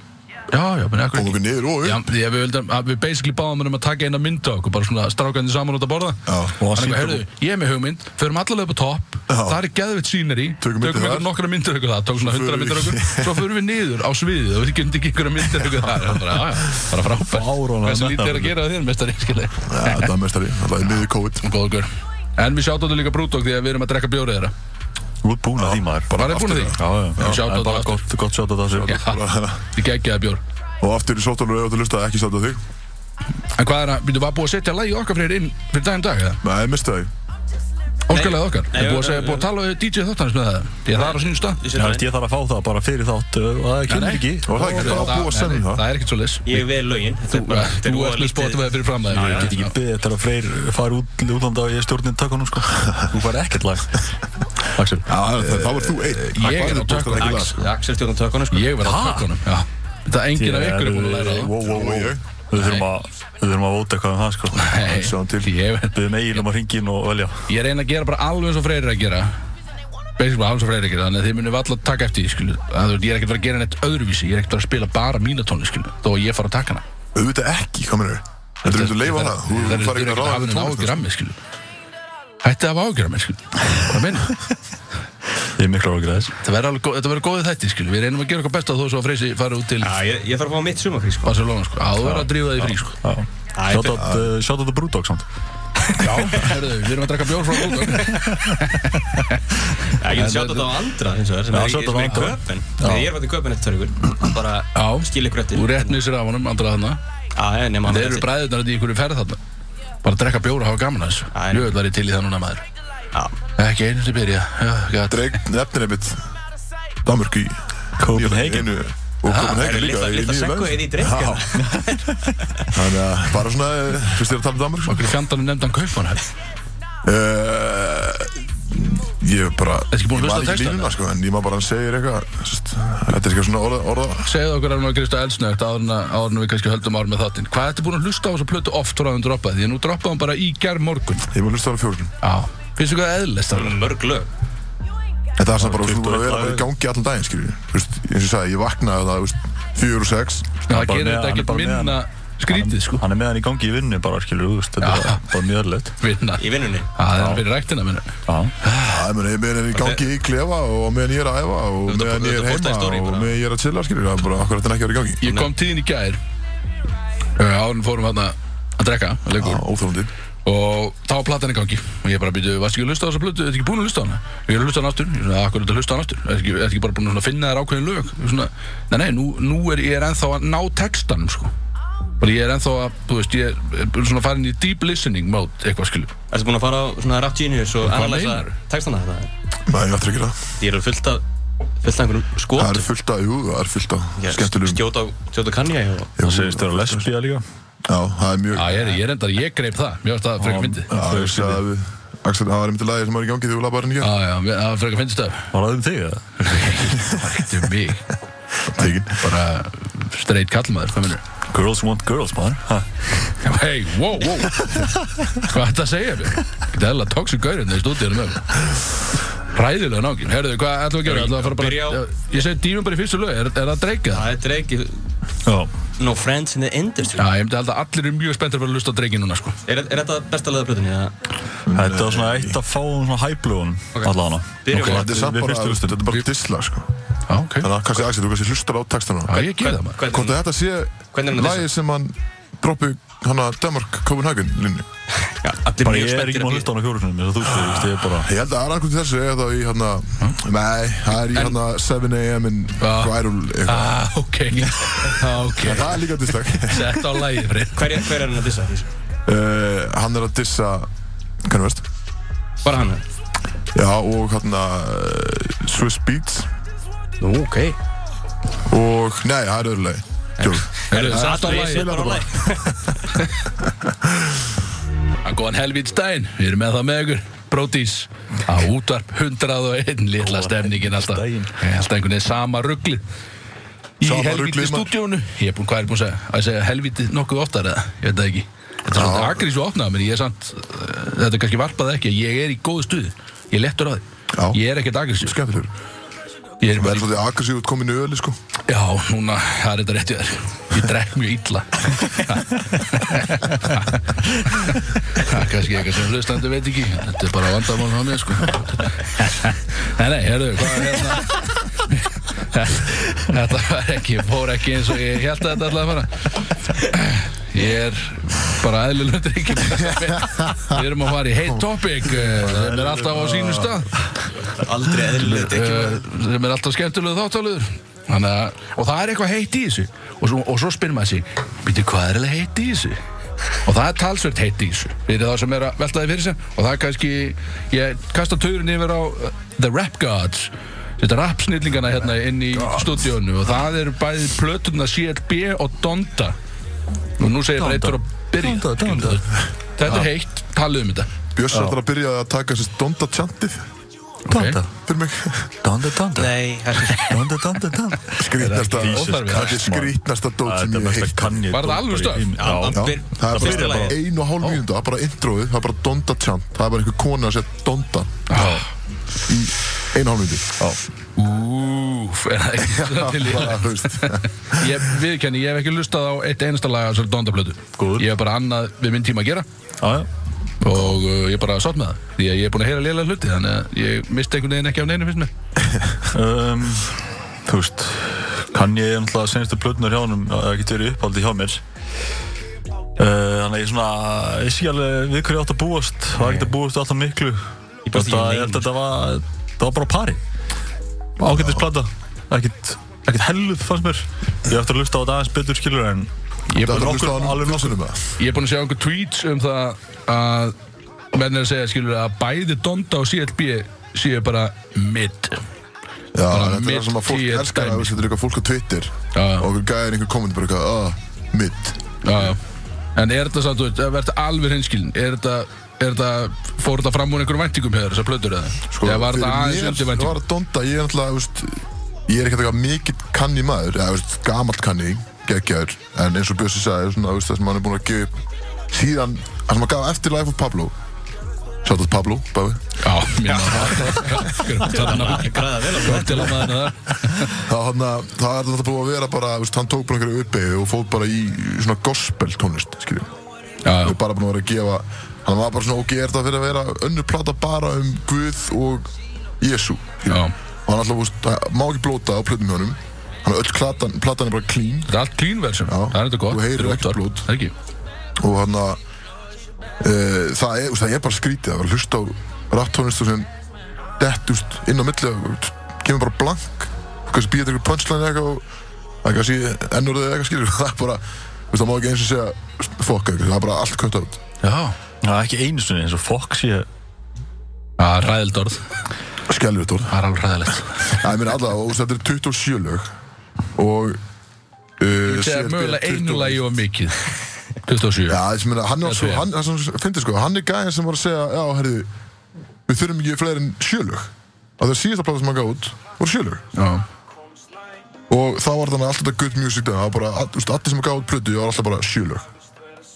Já, já, menn eitthvað
Kom okkur
ekki
niður og
Já,
upp
því að við, vildum, að við basically báðum hann um að taka eina mynd á okkur bara svona strákandi saman út að borða
Já, og hann
og hann
sýndi
eitthvað, heyrðu, ég er með hugmynd förum allavega upp á topp,
Já.
það er geðvitt sýnir í
Tökum myndir
eitthvað
þar.
nokkra myndir eitthvað það, tók svona
Svo förum
100 myndir
við-
okkur svo förum við niður á sviðið og við getum ekki einhverja myndir eitthvað það er bara, já, já, bara frábært
Fáránlega
hversu lítið er
metnaðarfull.
að gera á þér, mestari, skilja
Já, þetta var meistari, alltaf niður í COVID
góð okkur En við sjáttum líka brútók því að við erum að drekka bjórið þeirra
Þú ert búin að því maður
Var ég búin að því?
Já, já,
Já,
já,
shout
en
out
bara
aftur.
gott, gott sjátt á þessu
Já, þið geggjaði bjór
Og aftur í sóttalur eða þú lusta ekki sátt á þig
En hvað er að, byrju, var búið að setja lagi okkar fyrir inn fyrir daginn dag, eða?
Nei, mistaði
Óskalega okkar?
Nei,
er búið
jú,
að segja,
jú,
búið að tala við DJ þáttanins með það? Því að það er á sínum stað?
Ég seti
Já,
það
veist,
inn.
ég þarf að fá það bara fyrir þátt uh, og það kemur
Nei, nei.
ekki
Og það er ekki
Nei,
bara að búa að
nei,
semja
nei,
það
Það er ekkert svo leys
Ég veð lögin Þetta er
Þú
bara- þetta er
þú
voða
ert með
lítið-
Spotify fyrir fram það
Ég get ekki beðið þetta að Freyr fari út útlanda og ég stjórnir takkanum sko Þú fari ekkert lag Axel
Já, það- þá var þú einn
Ég er á tökum
Axel
Axel- Axel stjórnum tökunum sko
Ég var á
Ha?
tökunum, já Það er enginn af ykkur er eh, búin að læra það
Wow, wow,
Og
wow
ég.
Við þurfum að, við þurfum að vóta eitthvað um það sko
Nei,
Sjáum til.
ég-
Við meginum að ringi inn og velja
Ég reyna að gera bara alveg eins og freyrir að gera Basically bara alveg eins og freyrir að gera Þannig að þið munum alltaf taka eftir því, skilu að, þú veist, Ég er ekkert verið að gera neitt öðruvísi Ég er ekkert verið að spila bara mína tónlist, skilu Þó að ég fara að taka hana
Auðvitað ekki, hvað mennur Þetta er um að leifa það Þú
Það
fari ekki að
er ekki
ráða
hafinn
við
ágjur
tónlist
af mér, skilu Hætti að hafa ágjur af mér, skilu Hvað meina?
Ég er miklu ágrið þess
Þetta verður alveg góð- þetta verður góðið þætti, skilu Við reynum að gera okkar besta þó svo að Freysi fara út til
Já, ég, ég þarf að fá mitt sumafrí sko
Barcelona, sko Á, þú verður að drífa þig í frí, sko
Æ,
Sjátt að Sjátt að Brúdók samt
Já, herðu, við erum að drekka bjór frá Rúdók
Já, Ég get sjátt þetta á andra hins vegar sem
Já,
er,
shout out
sem er
á
í
Andra.
köpinn Ég er fættið í köpinn eftir törgur Hann bara
Já.
skilja gröttin
Þú rétt missir af honum, andra þarna
Já, ég nema
Þeir
hann
eru
eftir.
bræðurnar þetta í einhverju ferð þarna Bara að drekka bjór og hafa gaman að þessu
Já, já.
Jöfull var ég til í það núna, maður
Já,
Ekki einu sem byrja Já, gæt.
Dreg, nefnir einmitt Danmörk í
Copenhagen.
Nýju- Og
Það
Kopenhagen
eru
líka
litla,
í
litla
nýju
seggu
veðs.
eða í dreikana
Þannig að bara svona eh, Fyrst þér að tala um Danmörk
Okkur fjandanum nefndan Kaupmannhöfn
Ég er bara
Ertu ekki búin að
ég man
hlusta á
ekki
textann,
línuna, sko, En ég maður bara að hann segir eitthvað sest, Þetta er eitthvað svona orða, orða
Segðu okkur alveg Kristján Elsnögt áður en að- áður en við kannski höldum árum með þáttinn Hvað ertu búin að hlusta á þessa plötu oft frá að hún droppaði? Því að nú droppaði hún bara í gerð morgun
Ég maður hlusta á það fjórnum
Já Finnst þú hvað eðlist það?
Mörg lög
En það er samt bara, þú búin að
21
vera bara í
dagur.
gangi allan daginn, skiljum Þú veist, eins og ég sagði, ég vaknaði það, þú veist, fjögur og sex
það
bara
gerir
með-
þetta
hann er
ekkert
bara með
minna skrítið sko
Hann er með hann í gangi í vinnu bara, skilur, þú veist, þetta er
Já.
bara- bara mjög örlögt.
vinna,
í vinnunni
það er fyrir ræktina minna
Já.
Það er meina, ég meina, ég er í gangi í klefa og á meðan ég er að æfa og
Þetta-
meðan ég
þetta
er
postaði
heima
story
og
bara.
meðan ég er að chilla, skiljum Það er bara, akkur þetta er ekki að vera í gangi
ég kom tíðin í gær árun fórum hann að drekka að leikur
Óþólandi
og þá var platan í gangi og ég bara byrjuði, varst ekki að hlusta á þessa plötu, ertu ekki búin að hlusta á hana ég er að hlusta á hana aftur, ég er svona, akkur er þetta að hlusta á hana aftur ertu ekki, ertu ekki bara búin að svona finna þér ákveðin lög Ég svona, nei, nei, nú, nú er ég er ennþá að ná textanum sko bara ég er ennþá að, þú veist, ég er- er svona farin í deep listening mode, eitthvað skilur
Erstu búin að fara á svona Rap Genius og
Hvað
analýsa
meinarðu?
textana þetta?
Nei, ég ætla ekki það
Ég eru fullt af, fullt af einhverjum
Það er
skotum
fullt af, jú, það er fullt af
Ég
skemmtilegum
Skjóta á, skjóta á kannja og
Það segist þér að lesbía líka.
Já, það er mjög
Já, ég er, ég er endar, ég greip það, mér varst það frekar fyndið
Já, ég sagði að við Axel, það var einmitt lagið sem var í gangi þegar við labbaðum í
Já, já, mér- það var frekar fyndið stöf
Var það um þig eða?
Þetta er mig,
gerð Tekin
bara straight kallmaður, hvað minnur
Girls want girls, maður. Ha.
Hey, wow, wow Hvað er þetta að segja mér? Þetta er alveg tóksu gaurinn hérna í stúdíunum með Ræðilega nákvæm Herðu, hvað ætlum við að gera? Ætlum við að fara bara
Byrja á-
Ég segi dýmum bara í fyrstu lög Er, er það að dreika það?
Það er dreiki
Já.
No friends in the industry
Já, ég myndi held að allir eru mjög spenntir fyrir að lusta á dreikin núna, sko
Er, er þetta besta leða plötunni? eða?
Þetta var svona eitt að fá svona hæblögun allavega.
Byrjum
Ok.
á
Þetta er samt
Við
bara,
fyrstu hlustum.
þetta er bara disla, sko
Já, ok
Þannig að, kannski, Axel, þú kannski hlustar á textana
Já, ég gerir það maður
Hvernig-
Hvort að þetta sé
Hvernig er hann að
lagið sem hann droppi hann að Danmark Copenhagen linni
Já, allir
Bara
mjög
ég er
spenntir
ekki maður að hlusta á hana fjórusunum, þess að þú veist, ég er bara...
Ég held að það er akkur til þessu eða þá í hann Nei, það er í hann 7am in
Já.
Grærul eitthvað
Ah.
Já, ok Já, ok
En Það er líka disslag
Sett á lægi, frið
Hver er, hver er hann að dissa? því?
uh, Hann er að dissa Hvernig veist?
Bara hann
Já, og hann að Swiss Beats
Nú, ok
Og, nei, það er öðru lagi Tjók
Herðu, sett á
Allir
lægi
sér bara á læg
Að Góðan helvíts daginn Við erum með það með ykkur Brótís Á útvarp 101 Lilla stemningin alltaf
daginn.
Alltaf einhvern veginn sama ruggli Í
Sama
helvíti
ruglið, maður.
stúdíónu Ég er búinn, hvað er ég búinn að segja? Á Ég að segja helvíti nokkuð oftar eða Ég veit það ekki Þetta er
Já.
svona agrís og opnað Men ég er samt uh, Þetta er kannski varpað ekki Ég er í góðu stuði Ég er lettur á
Já.
því Ég er ekkert agrís
Skemmtilegur
Ég er
Það
bara
er svolítið aggressív út komin í öli, sko
Já, núna, það er þetta rétt í þér Ég drekk mjög illa Það er kannski eitthvað sem hlustandi veit ekki Þetta er bara vandamál á mér, sko Nei, nei, herru, hvað er hérna Þetta var ekki, fór ekki eins og ég held að þetta ætlaði að fara Ég er bara eðlilega drikkin Við erum að fara í Hey Topic eh, sem er alltaf á sínu stað
Aldrei eðlilega
Eh,
ekki
sem er alltaf skemmtilegu þáttalugur Þannig að, og það er eitthvað heitt í þessu og svo, og svo spyr maður sig býtu hvað er alveg heitt í þessu og það er talsvert heitt í þessu fyrir það sem er að velta því fyrir sem og það er kannski, ég kasta tögurinn yfir á uh, The Rap Gods þetta rapsnillingana hérna inn í stúdíónu og það eru bæði plötuna CLB og Donda og nú segir bara
Donda.
eitthvað að byrja
Donda, Donda.
þetta er heitt, talið um þetta
Björs ætlar að byrja að taka þessi donda tjantið
Danda,
fyrir mig
danda, danda,
Nei, herri
danda, danda, danda.
Skrítnasta
Jesus
Þetta er
Christ, maður.
skrítnasta dót
Það er
sem
þetta
ég
mest
hef
að
heilt
kann ég
Var það alvöru stöf?
Já,
Hann
Já,
byr-
það er
fyrsta
bara, bara
lagið.
ein og hálf mínúnda, það er bara introið, það er bara donda tjant Það er bara einhver kona að segja donda Í ein og hálf mínúndu
Úf, er það ekki svona til í
Bara, þú veist
Ég viðkenni, ég hef ekki lustað á eitt einasta lag af þessari Donda-plötu
Góður.
Ég hef bara annað við minn tíma að gera
já, já.
og uh, ég er bara sátt með það því að ég er búin að heyra lélega hluti þannig að ég misti einhvern veginn ekki af neinu fyrst mér
Um, þú veist, kann ég náttúrulega senstu plötunar hjá honum, það getur verið uppáldi hjá mér. Uh, þannig að ég svona, ég sé alveg við hverju ég átt að búast, það var ekkert að búast alltaf miklu.
Ég bjóst ekki við
Þetta- Ég held
neinu.
að þetta var, þetta var bara á pari. Ágættisplata, ekkert, ekkert helluð fannst mér. Ég ætti að lusta á þetta aðeins betur skilur en
Ég er
Það er
búin,
að hlusta á hann um fjósunum eða?
ég er búin að sjá einhver tweets um það að menn er að segja skilur að bæði Donda og CLB séu bara mid
Já, þetta er
mitt
það sem að fólk
í er
elskar
dæmi.
að Þetta er eitthvað fólk á Twitter
Já, já.
Og okkur gæðir einhver komment bara eitthvað "Ah, Mitt
Já, já. En er þetta samt, þú veist, verður alveg hinskilin, er þetta, er þetta, fór þetta fram úr einhverjum væntingum hefur þessar plötur eða? Sko, Eða var
fyrir
þetta aðeins
mér
undir væntingum?
var Donda, ég er náttúrulega, þú veist, ég er ekkert eitthvað mikill kanni maður, eða, þú veist, gamall kanni, geggjaður, en eins og Bjössi sagði, svona, þú veist, það sem hann er búinn að gefa upp síðan, það sem hann gaf eftir Life of Pablo, Shout out Pablo, bæði
Já, mér maður
um
það
Græða vel á þetta
Til að maður það
Það, hann, það er þetta búið að vera bara, þú veist, hann tók bara einhverju uppeyðu og fóð bara í svona gospel tónlist, skiljum.
Já, já,
Við bara búin að vera að gefa, hann var bara svona ok, er þetta fyrir að vera önnur plata bara um Guð og Jésu.
já
Og hann alltaf, þú veist, það má ekki blóta á plötum hjá honum. Hann er öll platan, platan er bara clean
Þetta er allt clean version,
Já.
það er þetta gott
Þú heyrir
Þetta er
ekkert
gott orð.
blót.
Það er ekki
og hann að e, það, er, þú veist, það er bara skrítið að vera að hlusta á rapptónlist og sem dett úst, inn á milli og kemur bara blank kannski býða eitthvað punchline eða eitthvað og það er kannski ennur eða eitthvað skilur það er bara, þú veist, það má ekki eins og segja fokk eitthvað, það er bara allt kött át
Já,
Það er ekki einu sinni eins og Fox ég
það er ræðild orð
skelvið þetta orð
Það er alveg ræðilegt
það er mér allavega, og þú veist, þetta er 27 lög og uh,
Það er mögulega einu lagi og mikið 27
Já, ég meina, hann er
Eða
svo,
tvö.
hann, það sem finnir sko, hann er gæðin sem var að segja, já, herðu, við þurfum ekki fleiri en sjölög. Það er síðasta plata sem hann gaf út, voru sjölög.
Já,
Og þá var þannig alltaf þetta good music dag, það var bara, all- þú veist, allir sem gaf út plötu, það var alltaf bara sjölög.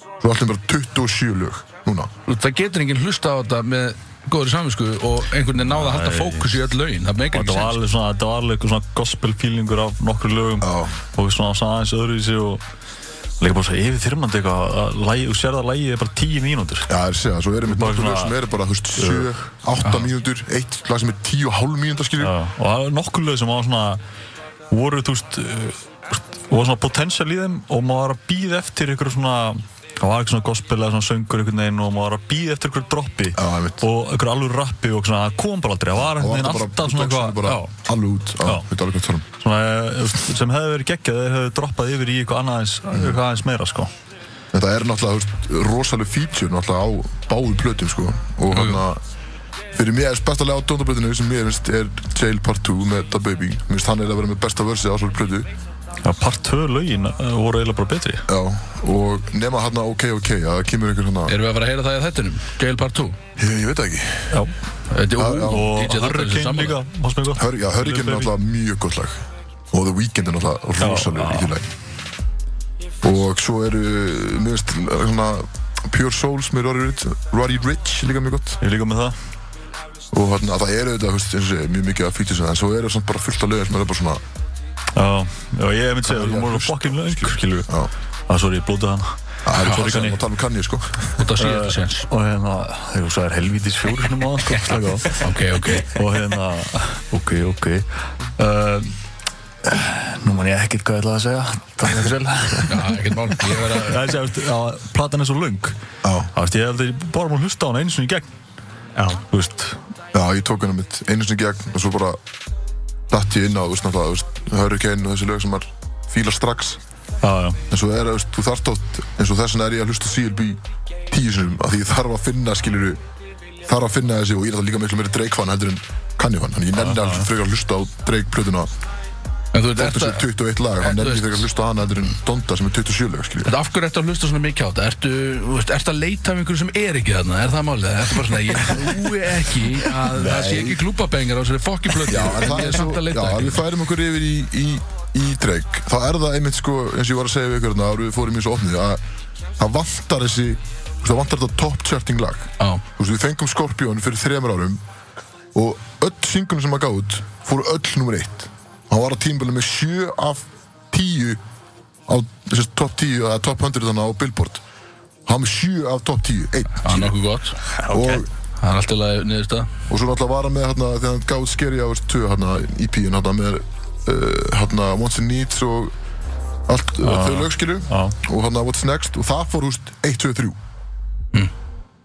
Svo allir bara 27 lög, núna.
það getur enginn hlusta á þetta með góðri samvisku og einhvern veginn náða að halda fókus í öll lögin það meikar
og
ekki
þetta var
sens
alveg svona, þetta var alveg eitthvað svona gospel feelingur af nokkur lögum
Já.
og svona svona aðeins öðru í sig og líka bara svo yfirþyrmandi eitthvað að lagi, þú sér það að lagið er bara tíu mínútur
Já, það er að segja, svo erum við
Bara
nokkur lög
svona-
sem eru bara, þú veist, 7, 8 mínútur, eitt lag sem er 10 og hálf mínúta, skiljum.
og það var nokkur lög sem var svona voru, þú veist uh, voru svona potential í þeim og maður var að býða eftir ykkur svona það var eitthvað svona gospel eða svona söngur einhvern veginn og maður var að býða eftir ykkur droppi
Já, einmitt.
og ykkur alveg rappi og svona það kom bara aldrei, það var
Og
einhvern veginn
alltaf bara,
alltaf svona
production
eitthvað
bara
já,
alveg út, já,
Já.
við veitum alveg hvað það er.
svona, eh, þú veist, sem hefði verið geggjað þeir hefði droppað yfir í eitthvað annað eins, eitthvað aðeins meira sko.
Þetta er náttúrulega þú veist, rosaleg feature náttúrulega á báðu plötum sko og hann að fyrir mér er bestalega á dóndablötinu sem mér finnst er Jail Part 2 með Da Baby mér finnst hann er að vera með besta versi á svolítið plötu
Já, part 2 lögin eh, voru eiginlega bara betri
Já, og nema hann að OK OK að það kemur einhver hann að
Erum við að fara að heyra það í þettunum? Gale Part 2
ég, ég veit það ekki
Já.
Þetta er
Já, já.
ú,
og
DJ Þorberg er
Hurricane
sammála.
líka fannst mér gott.
Hör, Já, Hurricane er náttúrulega mjög gott lag og The Weeknd er náttúrulega rosalegur í því lag og svo eru mér finnst svona Pure Souls með Roddy Rich, Roddy Rich líka mjög gott
ég er líka með það
og hann að það eru þetta, þú veist, eins og ég segi, mjög mikið að feature en svo eru samt bara fullt af lögum sem eru bara svona
Já, já ég hef myndið segja,
Þannig að
þú voru
hlusta,
fokkin lögur, skilu við.
Já.
Ah, sorry, ég blótaði hana.
Það er
Sorry,
hvað sem
Kanye.
að tala um Kanye sko
Þetta sé ekki sens
Og hérna, þegar þú sagðir helvítis fjóri sinum aðan, sko, slaka á.
Ok, ok
Og hérna, ok, ok. Uh, nú man ég ekkert hvað ég ætlaði að segja, það er sjálf.
Já, ekkert mál Ég verð að
Það er sér, veist, að platan er svo lung.
Já.
Þú veist, ég held að ég bara múið hlusta á hana eins og í gegn,
Já,
þú veist.
Já, ég tók hennar mitt einu sinni í gegn og svo bara datt ég inn á, þú veist, náttúrulega, þú veist, Hurricane og þessi lög sem maður fílar strax
Já, já.
en svo er, þú veist, þú þarft átt eins og þess vegna er ég að hlusta á CLB tíu sinum af því ég þarf að finna, skilur þarf að finna þessi og ég er þetta líka miklu meiri Drake fan heldur en Kanye fan, þannig ég nenni alveg frekar að hlusta á Drake plötuna
En þú veit,
þóttu sem
ertu
21 lag, hann
Þú
nenni
veist-
frekar að hlusta á hann heldur en Donda sem er 27 lög, skilur
Þetta af hverju ertu að hlusta svona mikið á þetta? Ertu, þú veist, ertu að leita af einhverju sem er ekki þarna? Er það málið? Ertu bara svona, ég trúi ekki að það sé ekki klúbabengar á þessari fokki plötu
Já, en
en
það er
ég er samt
svo,
að
já,
leita
ef við
ekki
færum okkur yfir í, í, í dreik, þá er það einmitt sko, eins og ég var að segja við ykkur hérna, áður en við fórum í þessu opnið, að það vantar þessi, þú veist, það vantar þetta top charting lag.
Já,
Þú veist, við fengum Scorpion fyrir þremur árum og öll singunum sem að gáði út fóru öll nummer eitt. Hann var á tímbölu með 7 af 10 á þessi top 10, eða top 100 þannig á Billboard. Hann var með 7 af top 10, einn.
það er Ah, nokkuð gott
Og
Það er alltaf leið niðurst að
og svo náttúrulega var hann með hérna þegar hann gáði Scary Hours 2 hérna EP-in hérna með uh, hérna Wants and Needs og allt uh, þau lögskilu
Já.
og hérna What's Next og það fór húst 1, 2, 3
Mm.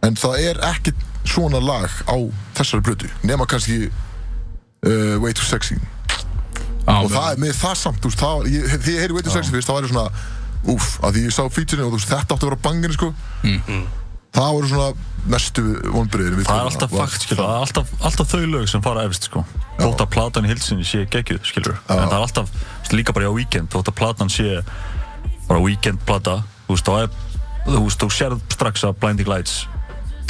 en það er ekki svona lag á þessari blötu nema kannski uh, Way Too Sexy og það er með það samt þú veist, það, var- ég, því ég heyri Way Too Sexy fyrst það var ég svona úff að því ég sá featurinn og þú veist þetta átti að vera bangin sko það voru svona mestu vonbreiðin
Mm. Það er alltaf fakt, skilur, það er alltaf, alltaf þau lög sem fara efst, sko. Þótt að platan í hilsinni sé geggjuð, skilur. En það er alltaf, þú veist, líka bara á weekend, þótt að platan sé bara weekend plata, þú veist, þá er, þú veist, þú sérð strax að Blinding Lights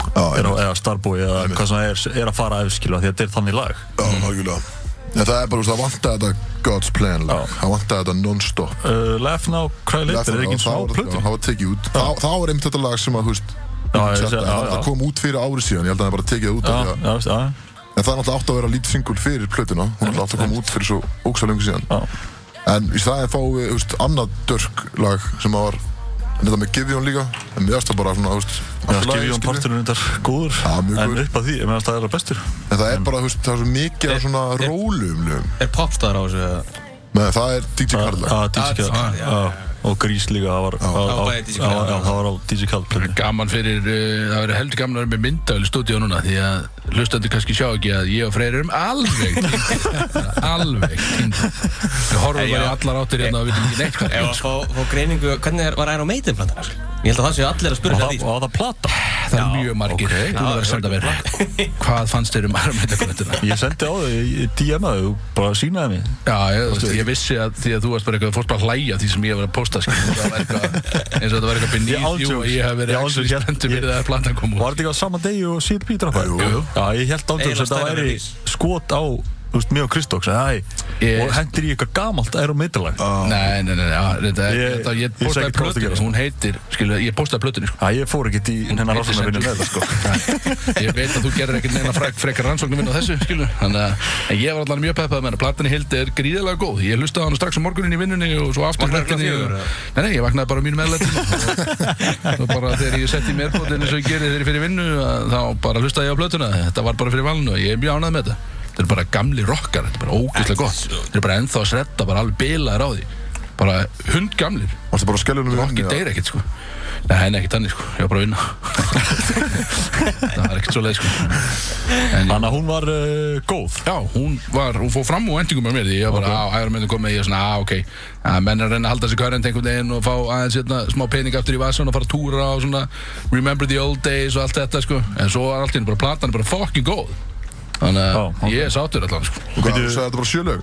Já,
er, á- eða Starboy eða hvað sem það er, er að fara efst, skilur, því að þetta er þannig lag.
Já, algjörlega. En það er bara, þú veist, það vantaði þetta God's Plan lag.
Mhm. Já.
Það vantaði þetta non-stop.
Uh, Laugh Eh, Now, Cry Later, er ekki
Það
smá
var-
plötu.
Það var tekið út. Þá þá er einmitt þetta lag sem að, þú veist,
Já, ég sé-
Tjarta,
já,
það
já.
kom út fyrir árið síðan, ég held að hann bara tekið það út af því að
já, veist, já,
En það er náttúrulega átt að vera lítið singul fyrir plötuna Hún er átt að koma út fyrir svo ógsalöngu síðan
já,
En í staðin fáum við, þú veist, annað dörk lag sem að var Þetta með Givjón líka En mér erst það bara svona, þú veist
já,
allt í lagi,
skifjum
skilur.
parturinn þetta góður,
Já, mjög
en
góður.
upp að því, ég meðan það er að bestur.
En það er bara, þú veist, það er svo mikið
Eh,
af svona rólum lögum.
Er popstar á þessu eða?
Nei, það er DJ
Ah,
Karla
Já, DJ
Já,
Khaled,
já,
já, og Grís líka, það var það
Já,
var á-
bæði DJ
já,
Khaled,
já,
já.
það var á DJ Khaled plötu.
Gaman fyrir, uh, það verður heldur gaman að vera með myndavel í stúdíu núna því að hlustandi kannski sjá ekki að ég og Freyr erum alveg týndir. alveg týndir. Við horfum bara
Nei,
í
já.
allar áttir hérna og við veitum ekki neitt hvað
Ef
er.
að fá, fá greiningu, hvernig er, var Iron Maiden platan? sko? Ég held að það séu allir að spyrja
Og
sér
það
því.
og það var plata.
Það er mjög margir okay. búin að vera að senda mér Hvað fannst þér um armættakonettina?
Ég sendi á þau, ég- ég DM-aði þau, bara sínaði mig.
Já, ég, þú veist, ég vissi að því að þú varst bara eitthvað fórst bara að hlæja að því sem ég var að posta skil, það var eitthvað, eins og þetta var eitthvað
Ég
beneath you
ántjóks.
og ég hef verið
Ég
actually
ántjóks, ég-
spenntur fyrir það að platan kom
Var
út
þetta ekki á sama degi og Seal Peter okkar?
Jú, jú.
Já, ég held ándjóks
Eiginlega
að þetta
stærra
væri
release.
skot á, þú veist, mig og Kristóks, æ,
Ég-
og hendir í eitthvað gamalt Iron Maiden lag.
Nei, nei, nei, nei, já, þetta er,
Ég-
þetta, ég
ég sé
postaði
ekki hvað þú
plötunni,
gerir.
hún heitir, skilu, ég postaði plötunni, sko
Já, ég fór ekkert í hennar
heitir
rannsóknarvinnu
sem-
með þetta, sko.
Nei, Ég veit að þú gerir ekkert neina frek, frekar rannsóknum á þessu, skilu Þannig að en ég var allan mjög peppað með hana Platan í hild er gríðilega góð Ég hlustaði á hana strax á morgunin í vinnunni og svo aftur
Vaknaði
verkinni
klukkan
og...
fjögur,
Nei, nei, ég vaknaði bara á mínu meðlættum og og bara þegar ég setti mér bótin eins og ég gerir þegar ég fyrir vinnu að þá bara hlustaði ég á plötuna Þetta var bara fyrir valinu og ég er mjög ánægð með þetta Þetta eru bara gamli rockar, þetta er bara ógeðslega gott Þetta er bara ennþá að sredda, bara alveg bilaðir á því Bara hundgamlir
Varstu bara að skellja henni við
Rokki
henni?
deyr ekkert sko Nei, henni ekkert þannig sko, ég var bara að vinna Það var ekkert svo leið sko En
Þannig að hún var uh, góð.
já, hún var, hún fór fram úr endingum með mér Því ég var bara, á, æra myndin komið, ég var svona, á, ok að Menn er að reyna að halda sig hverjand einhvern veginn Og fá aðeins hérna, smá pening aftur í vasan og fara að túra Og svona, remember the old days og allt þetta sko En svo var allt í henni bara, platan er bara fucking góð Þannig að
Já, ok.
ég er sáttur allan sko
Hvað, þú sagði þetta bara sjölög?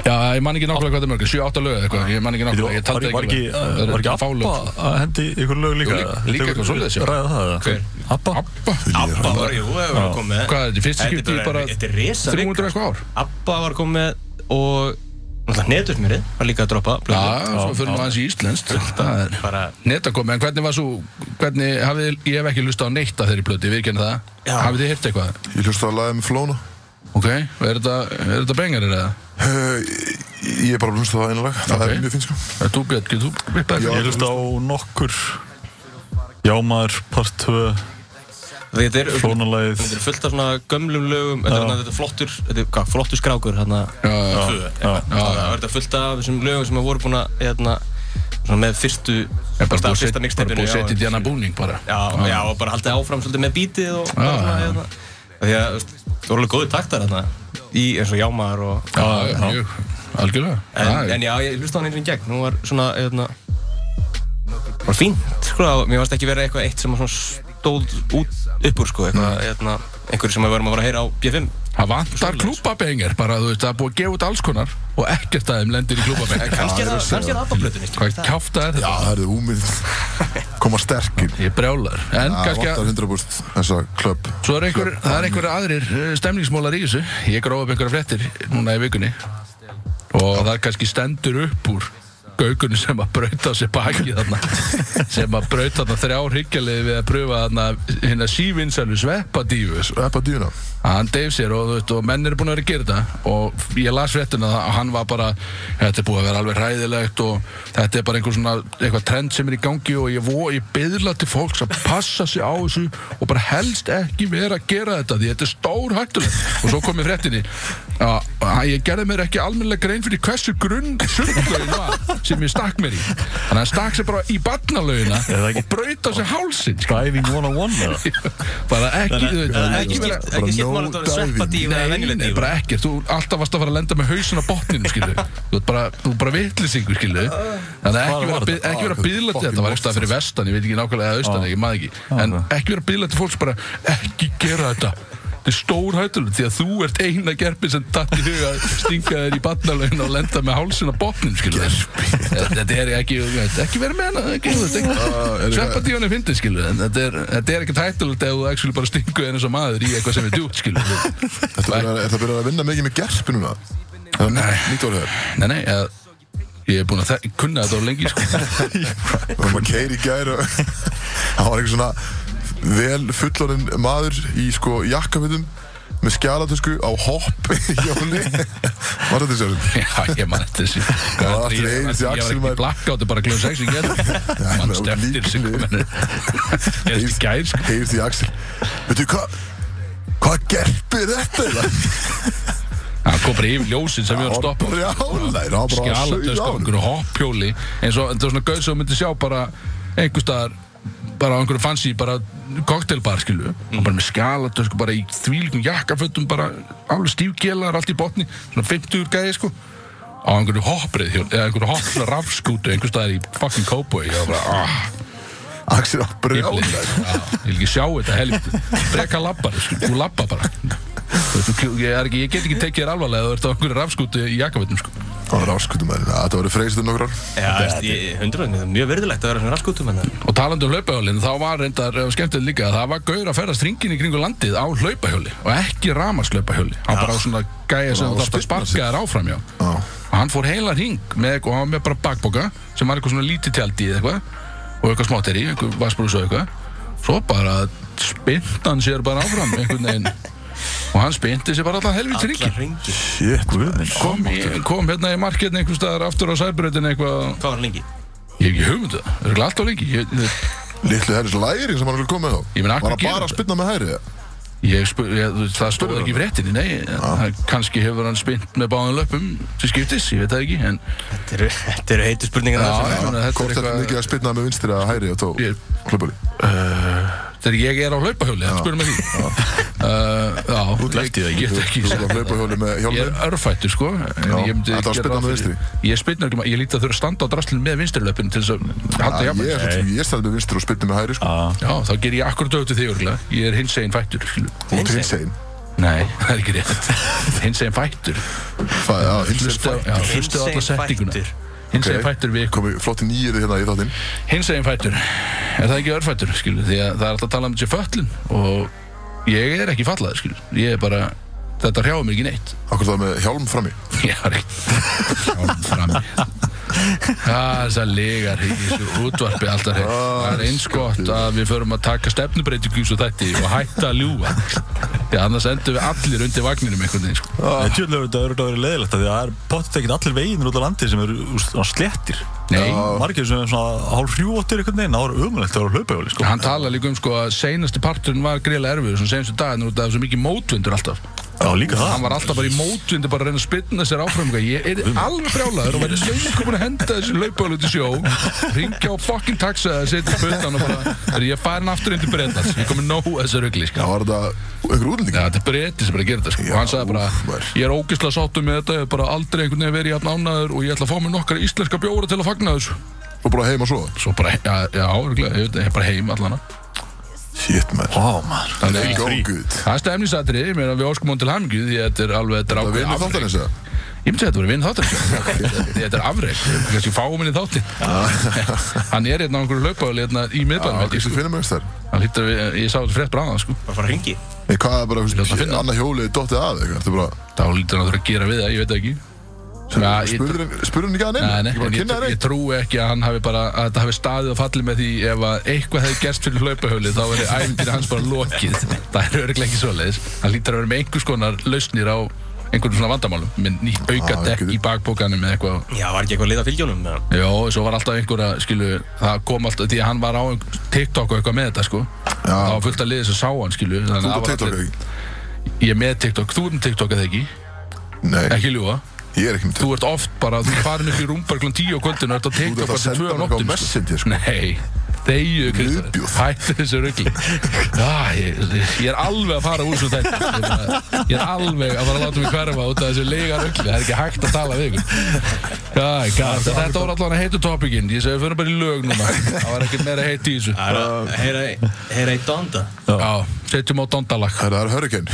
Já, ég man ekki nákvæmlega hvað það er mörg 7-8 lög eða eitthvað, ég man ekki
Var,
nákvæmlega Ég
var,
taldi
var ekki,
alveg. Það
uh,
eru
var ekki
fá lög,
Abba
sko.
að hendi ykkur lög líka?
Jú, líka- líka
Þeir-
eitthvað svoleiðis, já.
Ræða það, eða?
Hver?
Abba?
Abba
Abba var, jú, hefur verið komið með.
Hvað er þetta, í fyrsta
Þetta
skipti í
er
bara
Þetta er resa
300 eitthvað ár
Abba var komið með og náttúrulega netusmjörið var líka að droppa.
Já,
plötu.
svo fyrir nú aðeins í Íslenskt Það er
Bara,
netakomi, en hvernig var svo hvernig hafið, ég hef ekki lust á neitt að þeirri plöti, við erum það
Já.
hafið þið hirt eitthvað,
Ég hlustaði að lagið með Flóna
ok, er þetta er þetta bengarir eða,
Eh, Ég er bara að hlusta það einu lag Það
Ok.
er mjög fint sko
er þú Björn, getur þú vippað
Já.
eitthvað?
Ég hlust á nokkur Jámaður, part 2,
þetta er
Flónalæð
Þetta er fullt af svona gömlum lögum, þetta er, þarna- þetta er flottur, þetta er hvað, flottur skrákur hérna.
Já, já,
Tvö, eitthvað. Það er þetta fullt af þessum lögum sem að voru búin að, hérna, svona með fyrstu,
er bara búið að
fyrsta
setja- bara
mixtapeinu,
búið að
já,
setja hérna í djana búning bara
Já, já, og bara haldið áfram svolítið með bítið og
Já,
og svona,
já.
hérna. Af Því að, þú veist, það voru alveg góði taktar hérna í eins og jámaðar og
já, já, mjög, algjörlega
En,
Já,
en já, ég hlusta á hann einu í gegn, hún var svona, hérna Var fínt, sko, það var- mér varst ekki verið eitthvað eitt sem var svona stóð út, upp úr, sko, eitthvað, hérna Einhverju sem við varum að vera að heyra á B5
Það vantar klúbabengar bara, þú veist, það er búið að gefa út alls konar og ekkert að þeim lendir í klúbabengar
Kannski er það, kannski er það sko. abbablötunist
Hvað kjáft
Já,
er þetta?
það er úmynd Koma sterkir
Ég brjálar, en
Það
kannski að
vantar 100% þessa klöpp
Svo er einhver, það er einhverja aðrir eh, stemningsmólar í þessu. Ég gróf upp einhverja flettir núna í vikunni og það er kannski stendur upp úr gaukunni sem að brauta á sér baki þarna sem að brauta þarna þrjá hryggjalið við að pröfa þarna hérna sívinsælu sveppadífu sko.
Eppa dýna
hann deyf sér og, þú veist, og menn eru búin að vera að gera þetta og ég las fréttina það og hann var bara þetta er búið að vera alveg hræðilegt og þetta er bara einhver svona eitthvað trend sem er í gangi og ég, vo, ég byrla til fólks að passa sig á þessu og bara helst ekki vera að gera þetta því þetta er stór hættulegt og svo kom ég fréttinni að að ég gerði mér ekki almennilega grein fyrir hversu grunn sundlaugin var sem ég stakk mér í þannig að hann stakk sér bara í barnalaugina
það ekki-
og braut á sér hálsinn sko.
Diving 101 eða?
bara ekki, þú veist,
Það er ekki
vera-
skipt, ekki skipt
no
mál að það var
diving.
sveppadíf eða
Nei,
venjuleg
nei,
díf
bara ekkert, þú alltaf varst að fara að lenda með hausin á botninum, skilu Þú ert bara, þú ert bara vitlisingur, skilu Þannig að ekki
Hvar
vera,
var
að bið-
þetta?
ekki vera
Ah,
að byðla til þetta var eitthvað fyrir vestan, ég veit ekki nákvæmlega eða austan, ég maður ekki En ekki vera að byðla til fólks bara, ekki gera þetta Þetta er stór hættulegt því að þú ert eina gerpin sem datt í huga að stinga þér í barnalögin og lenda með hálsin á botninum, skilu Þetta er ekki, ekki vera með hana, ekki, þú veist,
Ah, er
ekki
eitthvað-
Sveppa tífan er fyndið, skilu, en þetta er, þetta er ekki tættulegt ef þú actually bara stingu eins og maður í eitthvað sem er djúpt, skilu
Þetta byrjar- þetta byrjar að vinna mikið með gerpi núna Það er nýtt- nýtt orðið þér
Nei, nei, að, ég er búinn að þek- kunna þetta á lengi sko.
Við varum að keira í gær og það var einhver svona vel fullorinn maður í sko jakkafutum með skjálatösku á hopp í hjóli Var þetta sérum?
Já, ég man þetta þessi
Það var allir
Ég-
einu þessi
Ég var
Axel
ekki
maður.
í blackout, bara glöð 6 í gerð Manst
það var
eftir sig
líklega.
komin Ég veist gær, sko
Heyrst í Axel Veitu hvað Hvað gerpi er þetta? eiginlega?
Hann kom bara yfir ljósin sem við varum
Hann
stoppað
var brjálæður, hann var bara að sauða
Skjalatösk
á
á
hann.
einhverju hoppjóli eins og þetta var svona gauð sem þú myndi sjá bara einhver staðar bara á einhverju fancy bara cocktailbar skilu hann bara með skjalatösk sko, bara í þvílíkum jakkafötum bara alveg stífgjelar allt í botni svona 50 gæði sko á einhverju hopprið hjól eða einhverju hoppla rafskútu einhver staðar í fucking cowboy ég var bara ah
Axel var
Ég vil
brjálæður
ég vil ekki sjá þetta helviti Breka labbar, sko, þú labba bara Þú veist, þú- ég, er ekki, ég get ekki tekið þér alvarlega Þú ert á einhverju rafskútu í jakkavitum sko.
Hann var áskutum maður Það var freysið nokkur ár
Já, veist, ég- 100% það er mjög verðilegt að vera svona raskutum en það
Og talandi um hlaupahjólin Þá var reyndar, eh, skemmtilegt líka að Það var gaur að ferðast ringin í kringu landið á hlaupahjóli Og ekki ramaslaupahjóli Hann bara á svona gæja sem
Já,
þú þarft að
spyrna
sparka
sig.
þér áfram já
Já.
Og hann fór heila ring með, Og hann var með bara bakboka Sem var eitthvað svona lítið tjaldi eða eitthvað Og eitthvað smáttir í, eitthvað vasbrús og eitthvað Svo bara spynnt hann sér bara áfram Einhvern veginn Og hann spynti sér bara alltaf helvits
Alla
ringin
hringi
Shit
Guðminn
kom, í- kom hérna í marketin einhvers staðar aftur á sæbröðin eitthvað
Hvað var hann lengi?
Ég hef ekki hugmyndu það, það er ekki alltaf lengi ég,
Litlu herris lærin sem hann er komið þá
Ég meina, af
Var
hverju
hann
gerir
bara að
þetta?
spynna með hæri eða?
Ég spur, ég, þú veist, það stóð
Spurðu
ekki í fréttinni, nei, það, kannski hefur hann spynt með báðum löpum til skiptis, ég veit það ekki, en
Þetta eru- Þetta eru heitu spurningar
Já,
þar
já.
sem-
meina, þetta er
Hvort þetta er
eitthvað-
mikið að spynna með vinstri að hæri og tó
Ég-
Hlaupali
þegar ég er á hlaupahjóli, það spurði mig því. Uh, já, ég
lefti það ekki.
get ekki
Þú
sagt
var hlaupahjóli með
Ég
hjálmi
er örfættur sko en
Já,
ég myndi
þetta var
gera
spyrna
ráð
með
fyrir- Ég spytna ekki, ég líti að þurfa að standa á draslinn með vinstri löpun til þess að halda
Ég,
jafnvæg
er svolítið- ég stæði með vinstri og spynna með hæri sko.
Já, þá ger ég akkur dögtu því örgulega Ég er hins einn fættur skilur.
Hún er hinsegin
Nei, það er ekki rétt Hins einn fættur Hlustu á
Hinsegin sko.
hlustu á alla
Hinsegin
settinguna
fættur.
Hins einn fættur við
Komið flott nýjir hérna í þáttinn
hinsegin fætur er það ekki örfætur skilu því að það er alltaf að tala um þessi föllin og ég er ekki fallaður skilu ég er bara þetta hrjáum mér ekki neitt
Akkur það með hjálm frammi
ég var ekki sjálf fram í þess að legar í þessu útvarpi alltaf hreif það er eins gott að við förum að taka stefnubreitingu svo þætti og hætta að ljúa því að annars endum við allir undir vagninum einhvern veginn sko
Tjóðlega þetta er verið leðilegt Því að það er potið ekkert allir veginn út á landi sem eru úst, svona sléttir
nei
Margir sem er svona hálf hrjúvottir einhvern veginn Það er umlegt að vera hlaupahjóli sko.
Hann tala líka um sko að seinasti parturinn var greiðlega erfiður, svona senastu daginn út af þessu mikið mótvindur alltaf.
Já líka
hann
það
var alltaf bara í mótvindu bara að reyna að spinna sér áfram eitthvað. ég er alveg brjálaður og væri löngu búin að henda þessu laupahólu til sjó ringja á fucking taxa eða setja pötan og bara þegar ég er farin aftur inn til Breitlands ég komi nóg að þessu rugli sko.
Það var þetta einhver
Já,
útlending
þetta er breytið sem er að gera þetta sko.
Já,
og hann sagði bara,
úff, maður.
ég er ógeðslega sáttur með þetta ég hef bara aldrei einhvern veginn verið jafn ánæður og ég ætla að fá mér nokkara íslenska bjóra til að fagna þessu
Og bara heim og svo
svo bara, já, já, örugglega, ég veit, ég er bara heim allan
Shit maður
Vá maður
Það er ekki ógud
það er stefnisatri, ég meina við óskum hún til hamingju því að þetta er alveg, þetta
Það
er ákveðið
vinnur
afrek.
þáttanins eða?
Ég myndi að þetta voru vinn þáttir Þetta er afreg, kannski fáum henni þáttir Hann er hérna á einhverju laupáli hérna í
Já,
miðbænum
kannski
sko.
finnum við þess þar
Hann hlýttur við, ég sá þetta frétt bráðan sko.
Bara fara að hringi
Nei, hvað er bara,
Ég ætla að
fyrst,
finna.
annað hjólið dottið að eitthvað Þetta er bara,
Þá hlýttur hann að þurfa að gera við það, ég veit það ekki Já, Ah, ég,
spurður spurður ekki að neina
nei, nei,
Ég bara
en ég,
kynna þér
ég
eitt
trúi ekki að hann hafi bara að þetta hafi staðið og fallið með því ef að eitthvað hefði gerst fyrir hlaupahöli þá verið æfindir hans bara lokið það er örglega ekki svoleiðis hann lítur að vera með einhvers konar lausnir á einhvern svona vandamálum með nýtt aukadekk
getur-
í bakbókanum eða eitthvað
Já, var ekki eitthvað að leita að fylgjónum eða?
Jó, svo var alltaf einhver að, skilu, það kom alltaf, því að hann var á einhver- TikTok og eitthvað með þetta, sko. Já. Það var fullt að liðið sem sá hann, skilu.
Þú
Þannig að
ert á
það var
TikTok
allir-
ekki?
Ég er með TikTok, þú ert með TikTok eða ekki,
Nei,
ekki ljúa.
ég er ekki með
Þú ert oft bara, þú er farin upp í rúmbarklun 10 á kvöldinu og ert á
ert að
TikTok bara til
senda
2 á
mér eitthvað á
nóttinu,
Messenger, sko.
Nei, þegju, Kristján.
Viðbjóð.
Hættu þessu ruggli. Já, ég, ég er alveg að fara úr svo þetta. Ég, bara- ég er alveg að fara að láta mig hverfa út af þessu leiga ruggli. Það er ekki hægt að tala við ykkur. Já, gæt, þetta þetta voru allavega heitu topikinn. Ég segi, við fyrir bara í lög núna. Það var ekkert meira heitt í þessu.
Það er
Uh.
að heyra- heyra eitt ánda
Já, setjum á dondalag.
Herra, Það er hurricane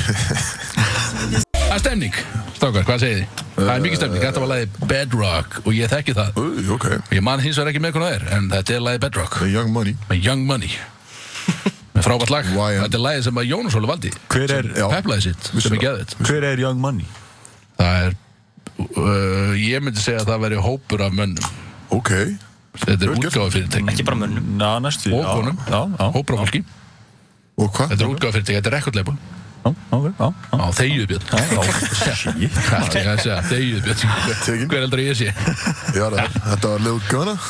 Það er stemning, strákar, hvað segið þið?
Eh,
Það er mikið stemning, þetta var lagið Bedrock og ég þekki það.
Új, ok
Ég man hins vegar ekki með hvernig það er, en þetta er lagið Bedrock.
The Young Money
með Young Money með frábært lag
um,
Why,
þetta er lagið sem að Jónas Óli valdi
Hver er,
Já.
peplaði sitt
Vissu
sem
það.
er geðið
hver er Young Money?
það er uh, ég myndi segja að það veri hópur af mönnum
Ok
þetta er
Vel gert.
útgáfa fyrirtæk
Ekki bara mönnum
Na, næstu því,
og
já.
konum
Já, já
hópur af fólki
Og hvað?
Þetta er útgáðfyrirtæki, þetta er rekordleipun
Já, ok, já, já.
Á þeyjuð björn
Shit.
Allt ég að segja, þeyjuð björn Hver- Hver heldur að ég sé?
Ég var að, þetta var Lil Gunna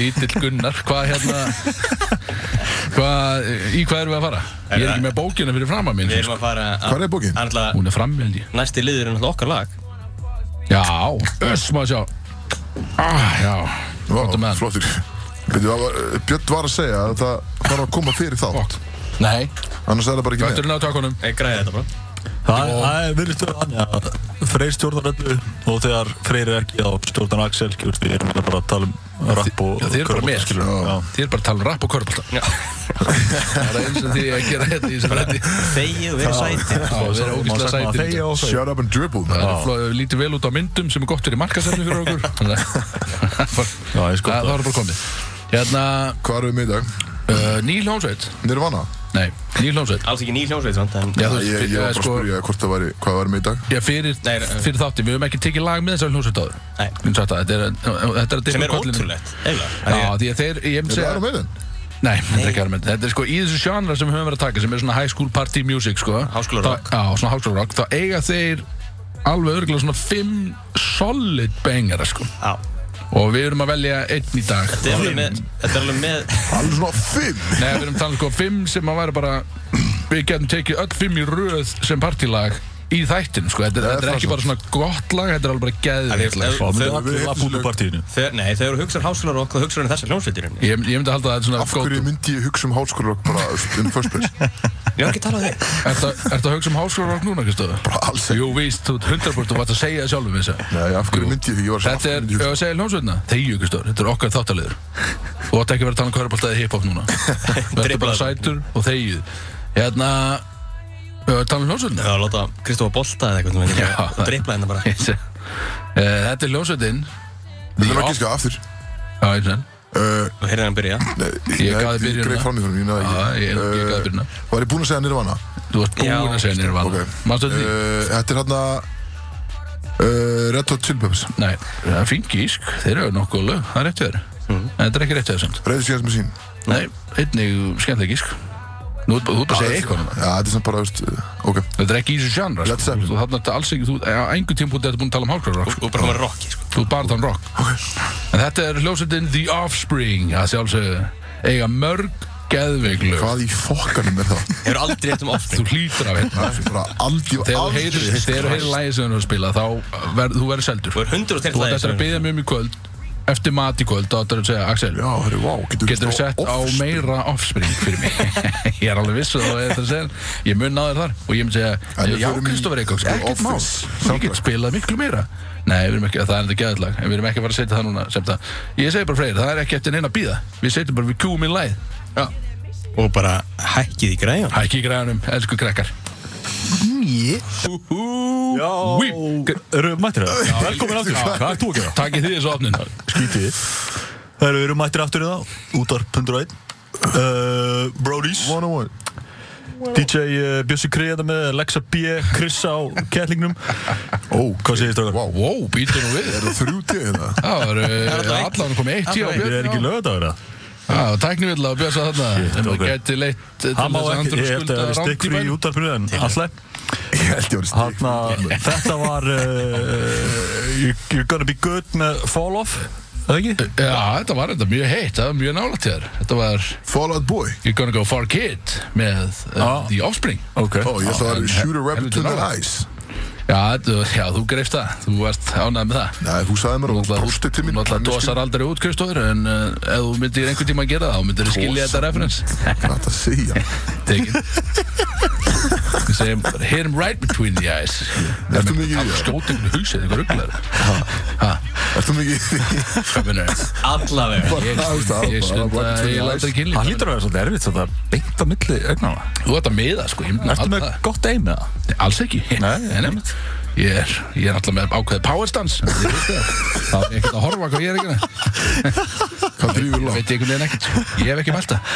Lítill Gunnar, hvað hérna Hvað, í hvað erum við að fara? Ég er ekki með bókina fyrir framar minn
Við erum að fara að...
Hvar er bókin?
Það er alltaf,
Hún er frammi held ég
næsti liður er náttúrulega okkar lag.
Já, öss maður sjá ah, Já,
Vá,
gott um meðan
flottur Byrju, það var, eh, Björn var að segja að það þarf að koma fyrir þátt
Nei,
Annars er það bara ekki með
gætturinn á tökunum
Ég græði þetta bara.
Það það er virðist verið þannig að Freyr stjórnar öllu og þegar Freyr er ekki þá stjórnar Axel skilur, við erum bara að tala um rapp og
Já, þið eru bara
körfubolta,
með.
skilur, já.
Þið er bara að tala um rapp og körbólta Það er eins og því að gera þetta í þessu rætti
Þegið og verið sæti.
Já, við erum
Má
ógæslega
sagt maður
sætir í
þegja
dag.
og þegja.
Shut up and dribble
Það
man.
er fló- lítið vel út á myndum sem er gott fyrir markasætni fyrir okkur Þannig að
Já, ég sko
það það var bara komið Hérna,
Hvað erum við með í dag?
uh, Níl Hjónsveit
Nirvana?
Nei, Níl Hjónsveit
Alls ekki ný hljómsveit, sant? En
Já, þú
Ég, ég, var
veist, eh,
bara að
sko,
spyrja hvort það væri, hvað var með í dag
Já, fyrir,
Nei, nei.
fyrir þáttin, við höfum ekki tekið lag með þessar hljómsveit áður
Nei.
Við höfum sagt það, Þetta er, þetta er að
sem
dippa
er
kollinum.
ótrúlegt, eiginlega.
Já, því að þeir, ég
Er
myndi
það
segja
Iron Maiden?
Nei, þetta er ekki Iron Maiden. Þetta er sko í þessu sjánra sem við höfum verið að taka sem er svona high school party music sko
Háskólarokk.
Þá- Já, svona háskólarokk þá eiga þeir alveg örgulega svona fimm solid bengara sko
Já.
og við erum að velja einn í dag
Þetta er alveg með, þetta er alveg með,
Alveg svona fimm
Nei, við erum að tala um sko fimm sem að væri bara við getum tekið öll fimm í röð sem partylag í þættin sko þetta, þetta
það
er
er
ekki
svo.
bara svona gott lag þetta er alveg bara
Ef-
geðvikt lag
ef-
sko.
Það
Þau-
er allir að búlu partíinu
þegar, nei, þegar þú hugsar háskólarokk, þá hugsar hann þessar hljómsveitir
ég, ég myndi halda að þetta er svona
Af
go-to.
hverju myndi ég hugsa um hálskólarokk bara um first place?
Ég var ekki að tala um þig.
Ertu ertu að hugsa um háskólarokk núna, Kristofur?
Bara alls ekki.
Jú, víst, þú ert 100% og varst að segja það sjálfum þessu
Nei, af hverju myndi ég, ég var að
Þetta
segja af hverju
er,
myndi
ef
ég
að segja hljómsveitna, þegju ykkur stór, þetta er okkar þáttaliður Þú átt ekki að vera að tala um körbált eða hip-hop núna Verður bara
Dribblaðu.
sætur og þegju Hérna, ef að tala um hljómsveitna
Já, láta Kristofa bolta eða eitthvað sem
Já,
þetta.
það-
Og dreipla hérna bara.
Eh, Þetta er hljómsveitin
Við erum að gíska aftur
Já, ég sen
Uh,
Og heyrði hann byrja.
nei,
Ég gaf þér
Uh, nei,
byrjunina.
greip fram í fyrir mér, ég
Já, ég-
náði
ég
ekki.
gaf þér byrjunina.
Uh, Var ég búinn að segja Nirvana?
Þú varst
Já,
búinn að segja nýra
Ok
vana Manstu þetta því?
Uh, Þetta er hérna uh, Red Hot Chili Peppers
Nei, það er fín gísk, þeir eru nokkuð lög, það er rétt hjá þér
Mhm.
En Þetta er ekki rétt hjá þér samt
Reyðu síðast með sín
Nei, einnig skemmtileg gísk Nú, þú ert bara að segja eitthvað núna.
Já, þetta er samt bara, veist uh, Ok
Þetta er ekki í þessu sjánra sko.
Led Zeppelin.
Þú þarna þetta alls ekki Þú, eh, á einhver tímpúti þetta búin að tala um hálfkráðrock
Og bara koma rocki, sko.
Þú er bara þann rock En þetta er hljósetinn The Offspring Það sjálfsögðu eiga mörg geðveiklu
Hvað í fokkanum er það?
Hefur aldrei rétt um
Þú
offspring.
hlýtur af hérna
Það er bara aldrei
Þegar þú
aldrei
heyrir
heyrt
Þegar þú
Christ.
heyrir lægið sem þú erum að spila Þá verð, þú verður seldur
Þú er hundur og
Þú ert eftir að
þeirrlæði.
byggja mjög mjög kvöld Eftir mat í kvöld Þá ættir að segja Axel
Já, herri, wow, getur
Getur þú sett á meira offspring fyrir mig Ég er alveg viss að þú er það að segja Ég mun á þér þar og ég mun segja
En við
Já,
förum í-
Kristoffer Eikóks,
sko,
ekkert mál
Office
Ég get spilað miklu meira Nei, við erum ekki, það er þetta gæðlag En við erum ekki að fara að setja það núna sem það Ég segi bara freyr, það er ekki eftir neina að býða Við setjum bara, við kjúum í læð Já,
Og bara hækkið í græðan.
hækki í græðanum, elsku krakkar
Já,
Wí.
eru mættir það? Velkomin aftur, hvað er þú að gera?
Takk í því þessu opnun
Skítið Það eru mættir aftur í það, útarp 101 Uh, Brodies
One on one
DJ uh, Bjössi Kriða með Lexa B, Krissa á kettlingnum Ó, hvað segist okkar?
Wow,
Wow, býtum nú við
er það þrjú tíð hérna?
Það var uh,
er þetta
allan komið eitt í á
Ég er ekki
Björn
lögadagur það
Já, tæknivill á Björn sá þarna
Shit,
Sem
ok.
gæti leitt til þess
Hann má
að hann
ekki,
þurfa
ég
að
held að
skulda
það er stikk frí í
rántímann
útarpinu en alltaf
Ég held ég var í stík
Hanna, þetta var uh, you- You're gonna be good með Fall Off Það ekki?
Já, þetta var þetta mjög heitt, það var mjög nálægt þér Þetta var
Fall Out Boy
You're Gonna Go Far Kid með uh,
Já.
The Offspring
Ok
Ó, ég held að það
en-
var Shoot a Rabbit
helviti
to the
nálægt.
Eyes
Já, þetta- já þú greifst það, þú varst ánægð með það
Nei, þú sagði mér
Þú
og
náttúrulega-
brústið til
þú
mín
náttúrulega
manneskju.
dosar aldrei út, Kristóður En uh, ef þú myndir einhvern tíma að gera það, þá myndir þú skilja
Dosar.
þetta referens
Hvað er það að segja?
Tekin Við segjum, hit him right between the eyes
Ertu mikið í
Allt
því?
skjóti ykkur húsið, ykkur rugglar
Ertu mikið í því?
Hvað minnur ég?
Allavega.
Bara, þú veist, það var
Ég
bara-
stund
bara
að
between
ég
the
læta
eyes.
ekki
Það
líka
hlýtur að vera svolítið erfitt þetta beint á milli augnana
Þú ert að miða, sko, ég myndi að
Ertu
halda
með
það
gott eim með það?
Alls ekki
Nei,
einmitt. Ég er, ég er alltaf með ákveðið powerstance Það er ekkert að horfa hvað ég er ekki að-
Hvað drýfur
Ég
langt?
veit einhvern veginn ekkert sko. Ég hef ekki mælt það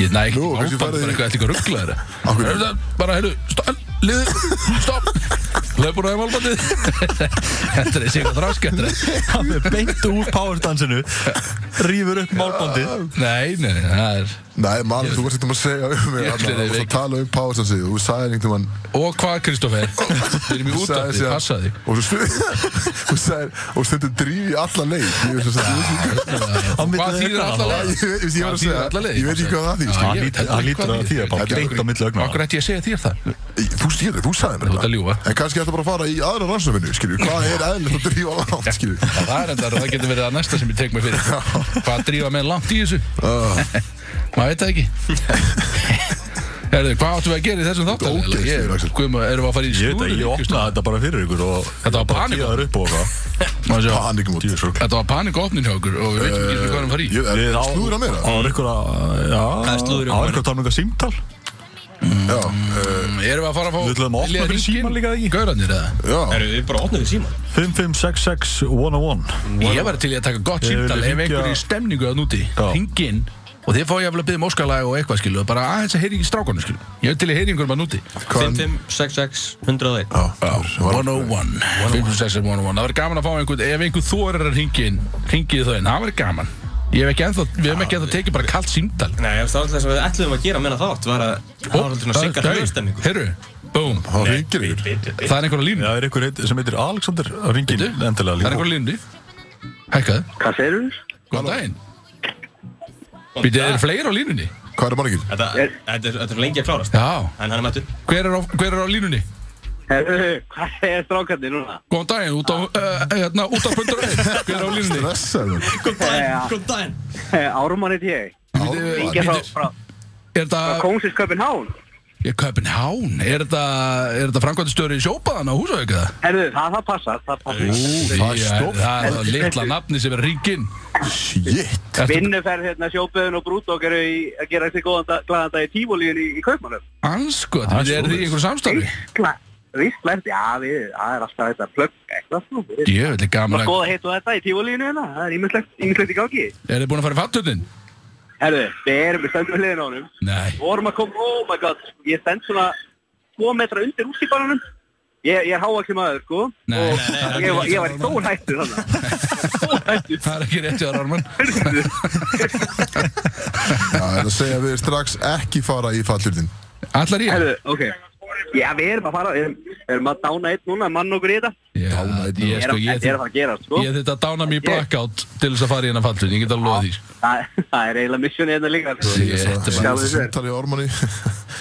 Ég næ ekki
Nú,
málta
kannski
Bara
farið í-
eitthvað eitthvað ruggla þeirra
hverju?
Bara, heyrðu, stopp, liðu, stopp Hlaupur á þeim álbandið Þetta er þessi eitthvað þráskettur
Hann er beint úr powerdansinu Rýfur upp málbandið
Nei, nei, nei, það er
Nei, maður, þú varst eitthvað að segja um mig þarna,
Ég ætli þig
Þú varst að
veik.
tala um pásansi Þú sagði einhvern veginn
Og hvað, Kristoffer? Við erum í útarpi, passa því
Og svo stundum Þú sagði Og stundum drífi alla leið Ég veist að segja
Hvað
Hann milli
þýðir
augnanna,
alla
Ég
leið?
veit- ég var að
Hvað þýðir
segja,
alla leið?
ég veit ekki hvað það þýðir, sko.
Já, ég veit heldur
Hann
ekki
lítur
hvað
að það þýða bara
Þetta er
beint á milli augnanna.
Okkur ætti ég að segja þér það
Þú stýrði, þú sagði mér
ert að ljúga.
En kannski ætla bara að fara í aðra rannsókninu, skilju Hvað er eðlilegt að drífa langt, skilju
Já, Það er endar, það getur verið að næsta sem ég tek mig fyrir Hvað drífa menn langt í þessu?
Ah.
Maður veit það ekki Herðu, hvað áttum við að gera í þessum þáttal?
Þetta er ógeðslegur, Axel.
Guðma, erum við að fara í
Ég veit að
slúður?
ég opnaði þetta bara fyrir ykkur og
Þetta var
bara
panik.
tíðaður upp og eitthvað
opna
Panikum út
Djöfisrugl.
Þetta var panikopnin hjá okkur og við veitum ekki hvað hann fari í
Ég er
Við á-
slúður að meira
Það var ykkur að, já,
Það er slúður í
það var
honum.
ykkur að tala um eitthvað símtal
Já, eh,
Mm, Erum við að fara að fá
Við ætlum að opna fyrir símann líka, ekki?
Gaurarnir eða?
já,
Erum við bara opnum við síman?
5566-101
Ég var til í að taka gott
Ég vil
símtal ef
hringja-
einhver í stemningu að núti
Já.
Ringinn og þið fá ég að byggja móskalag og eitthvað skilu bara aðeins að heyri ekki strákonu skilu Ég er til í að heyri einhverjum að núti
Hvaðan-
5566 101
já var-
101 56101 Það verður gaman að fá einhvern ef einhver þorir að ringi inn ringið þau inn, það verður gaman Ég hef ekki ennþá, við hefum ekki ennþá tekið bara kalt símtal
Nei, það var alltaf það sem við ætluðum að gera meina þátt var að það var alltaf svona sikkar hljóðstemningu
Herru, búm
Það ringir ykkur
Það er einhverja línu
Það er ykkur heit- sem heitir Alexander á ringin
Bíddu,
endilega
Það er
líka
einhver lindi Hækkaðu
Hvað segir þú?
Góðan daginn Býtið, er fleiri á línunni?
Hvað er margir?
Þetta þetta er þetta er lengi að klárast
Já
En hann er mættur
Hver er á, hver er á línunni?
Herru, hvað segir strákarnir núna?
Góðan daginn, út á, uh, hérna, út á pöndur Hver er á línunni?
Stressaður
Góð
Já.
daginn, góð daginn
Eh, Ármann er ég.
Ármann.
Ég er frá,
Bíddu,
frá,
Er
frá
þetta,
Kóngsinsköpin Hán.
ég köpinn hán Er þetta, er þetta framkvæmdastjóri í sjópaðan á húsauk eða?
Herru, það, það passar, það passar.
það er
Ég-
stórt.
Það er það litla nafni sem er ríkin
Shit
Vinnuferð hérna sjóböðun og brúdók eru í að gera þessi góðan dag, glaðan dag í tífólíun í, í Kaupmannum.
Anskot,
Það
er þið í
er svoleiðis.
einhverjum samstarfi?
Ríslært, já, við, það er alltaf þetta plögg, eitthvað svona. Við erum
Ég veit, gaman
Bara
að
góða hitt og þetta í tífólíunu hérna, það er ýmislegt, ýmislegt í gangi.
Er þið búin að fara í fattunin?
Herru, við erum við stöndum við hliðin á honum.
Nei
vorum að koma, oh my god, ég stend svona 2 metra undir útsýkbaranum ég, ég er hávaxi maður, sko
Nei,
og
nei, nei,
ég,
nei,
var, ég var í stór hættu þannig stór hættu
Það er ekki rétt hjá Rármann
Já, það er að segja að við erum strax ekki fara í fallhjörðin
Allar ég
Herðu, ok Já, við erum að fara, við erum, við erum að dána einn núna, mann okkur í þetta
Já, ég,
Ég er
sko,
að,
ég,
þetta er að fara að gera, sko
Ég þetta dána mér í blackout til þess að fara í hennar fallin, ég get að loða því sko.
það, það er eiginlega missunni hérna líka, sko
Ég- Þetta er bara
Sjáðu þér.
Sintali Ormanni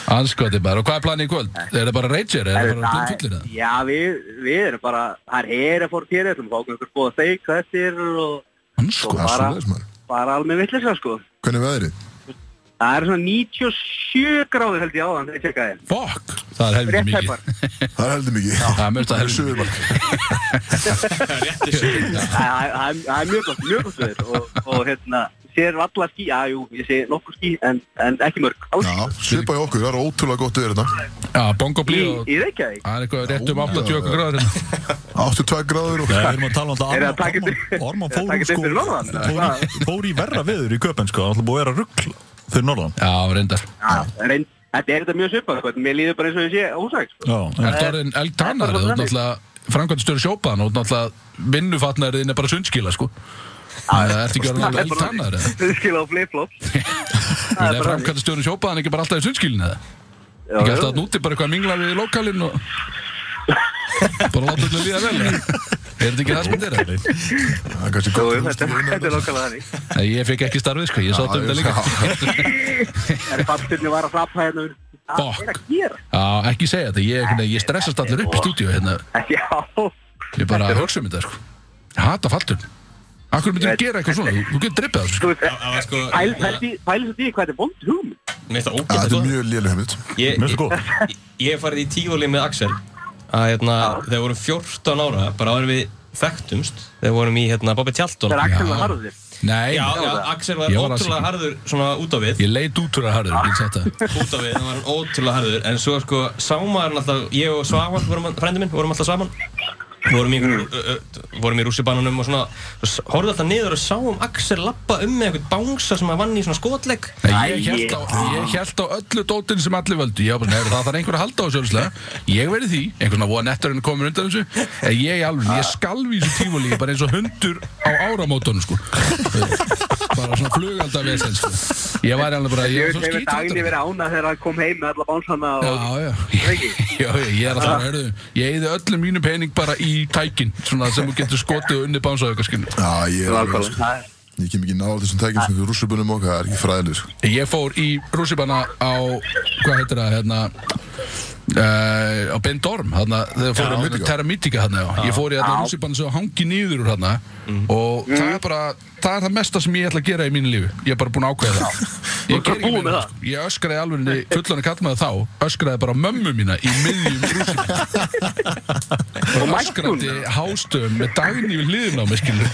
anskoti bara, og hvað er planið í kvöld? Er það bara rager, er það
Herðu,
bara
það
blindfullir eða?
Já, við, við erum bara, það er hera fór fyrir, við erum að fá okkur góða steik, þessir og
Anskoti?
Og- Bara-
maður
bara alveg vitleisa, sko
Hvernig er veðrið?
Það er svona 97 gráður held ég áðan þegar ég tjekkaði.
Fuck, það er helviti
Rétt
mikið
hefðar.
Það er heldur mikið
Það er mest að
er
helviti mikið
söðumark
Það það- það er mjög gott, mjög gott veður og, og hérna, sér valla ský, já, jú, ég sé nokkur ský en, en ekki mörg. Alls
Já, svipa í okkur, það er ótrúlega gott veður hérna
Já, bongo
í,
blí og
í Reykjavík.
það er eitthvað rétt um
Já,
80 okkur gráður hérna.
82 gráður og
Nei, við erum að tala um
Er það að
alltaf
taka
Orman-
þetta-
Orman fór úr
er það að taka þetta
sko
fyrir norðan?
fór í- Fór í verra veður í köpen sko Það er alltaf búið að vera ruggl fyrir norðan
Já, reyndar
Já, reynd, þetta er þetta mjög svipað, sko, mér líður bara eins og ég sé ósæk. Sko.
Já, en-
Þetta Eh, er orðin elgtanar, þú er náttúrulega framkvæmt störu sjópaðan og þú ert náttúrulega vinnufatnar þinn er bara sundskila sko Það ert ekki orðin alveg elgtanar eða?
Þau skilja á flip-flop.
Það
bara
er framkvæmt störu sjópaðan ekki bara alltaf í sundskilin eða?
Já,
Ekki
jú.
alltaf að núti bara eitthvað að mingla við í lokalinn og bara láta öllu líða vel eða? Er þetta ekki það sem þetta er? eða?
það er kannski
Jú,
gott
Þetta þetta er lokala þannig.
Nei, Ég fekk ekki starfið sko, ég sátt um þetta líka
Það er fattirni var að hrappa hérna. um- Hvað er að gera?
Já, ekki segja þetta, ég, nei, ég stressast allir upp í stúdíu hérna,
Já,
ég bara hugsa um þetta sko Ég hata fallur Akkur myndir þú gera eitthvað svona, þú- þú getur drippið það sko
þú veist,
Það var sko
pæl- pælið pæli því hvað þetta er vond hugmynd.
Mér finnst það
Já,
ógætt
Þetta
að
er mjög lélega heimilt
Mér
Ég
finnst það góð
Ég- Ég hef farið í tífóli með Axel að hérna, þegar við vorum 14 ára bara áður en við þekktumst þegar við vorum í hérna, Bobby Tjaldón
Það
Já,
er Axel
Já.
að harður þér.
Nei,
já, Axel var
Ég var alls
ótrúlega
ekki.
harður svona út á við
ég leit út úr að harður, ég sagt það
út af við, það var hann ótrúlega harður en svo sko, sá maður hann alltaf, ég og Svavan vorum, frændi minn, vorum alltaf saman vorum í, mm. uh, uh, vorum í rússibanunum og svona, svo horfði alltaf niður og sáum Axel lappa um með eitthvað bánsa sem að vann í svona skotleik.
Nei, Ég held, á, ég held á öllu dótin sem allir völdu Ég var bara, neður, það þarf einhver að halda á sjálfslega Ég verði því, einhver svona voða nettarinn komur undan þessu En ég alveg, ég skalf í þessu tífólíki Bara eins og hundur á áramótunum sko. Bara svona flugaldavesen sko. Ég var alveg bara, ég var
Ég veit
svo
hefur daginn
skítrættur
verið ána þegar hann kom heim með alla bánsana og...
Já, já, já, já, ég er að fara að hörðu Ég eyði öllum mínu pening bara í tækin Svona sem þú getur skotið og unni bánsaðu
Já, ég er alveg,
Nákvæmlega.
sko.
Það er-
Ég kem ekki nála þessum tækjum sem þú rússubunum okkar, það er ekki fræðileg, sko.
Ég fór í rússipanna á, hvað heitir það, hérna, uh, á Ben Dorm, hérna, þegar fór
Terra
í
Mythica.
Terra Mythica, hérna, já. Ég fór í hérna rússipanna sem hangi nýður úr hérna
Mhm.
og það er bara, það er það mesta sem ég ætla að gera í mínu lífi. Ég er bara búinn að ákveða það. Ég ger ekki
búinn með
meira,
það?
sko. Ég öskraði alveg, fullan að kalla maður þá, öskraði bara á mömmu mína í miðjum rússipanna. og
mætti hún?
öskraði hástöfum með daginn í hliðin á mig, skilur.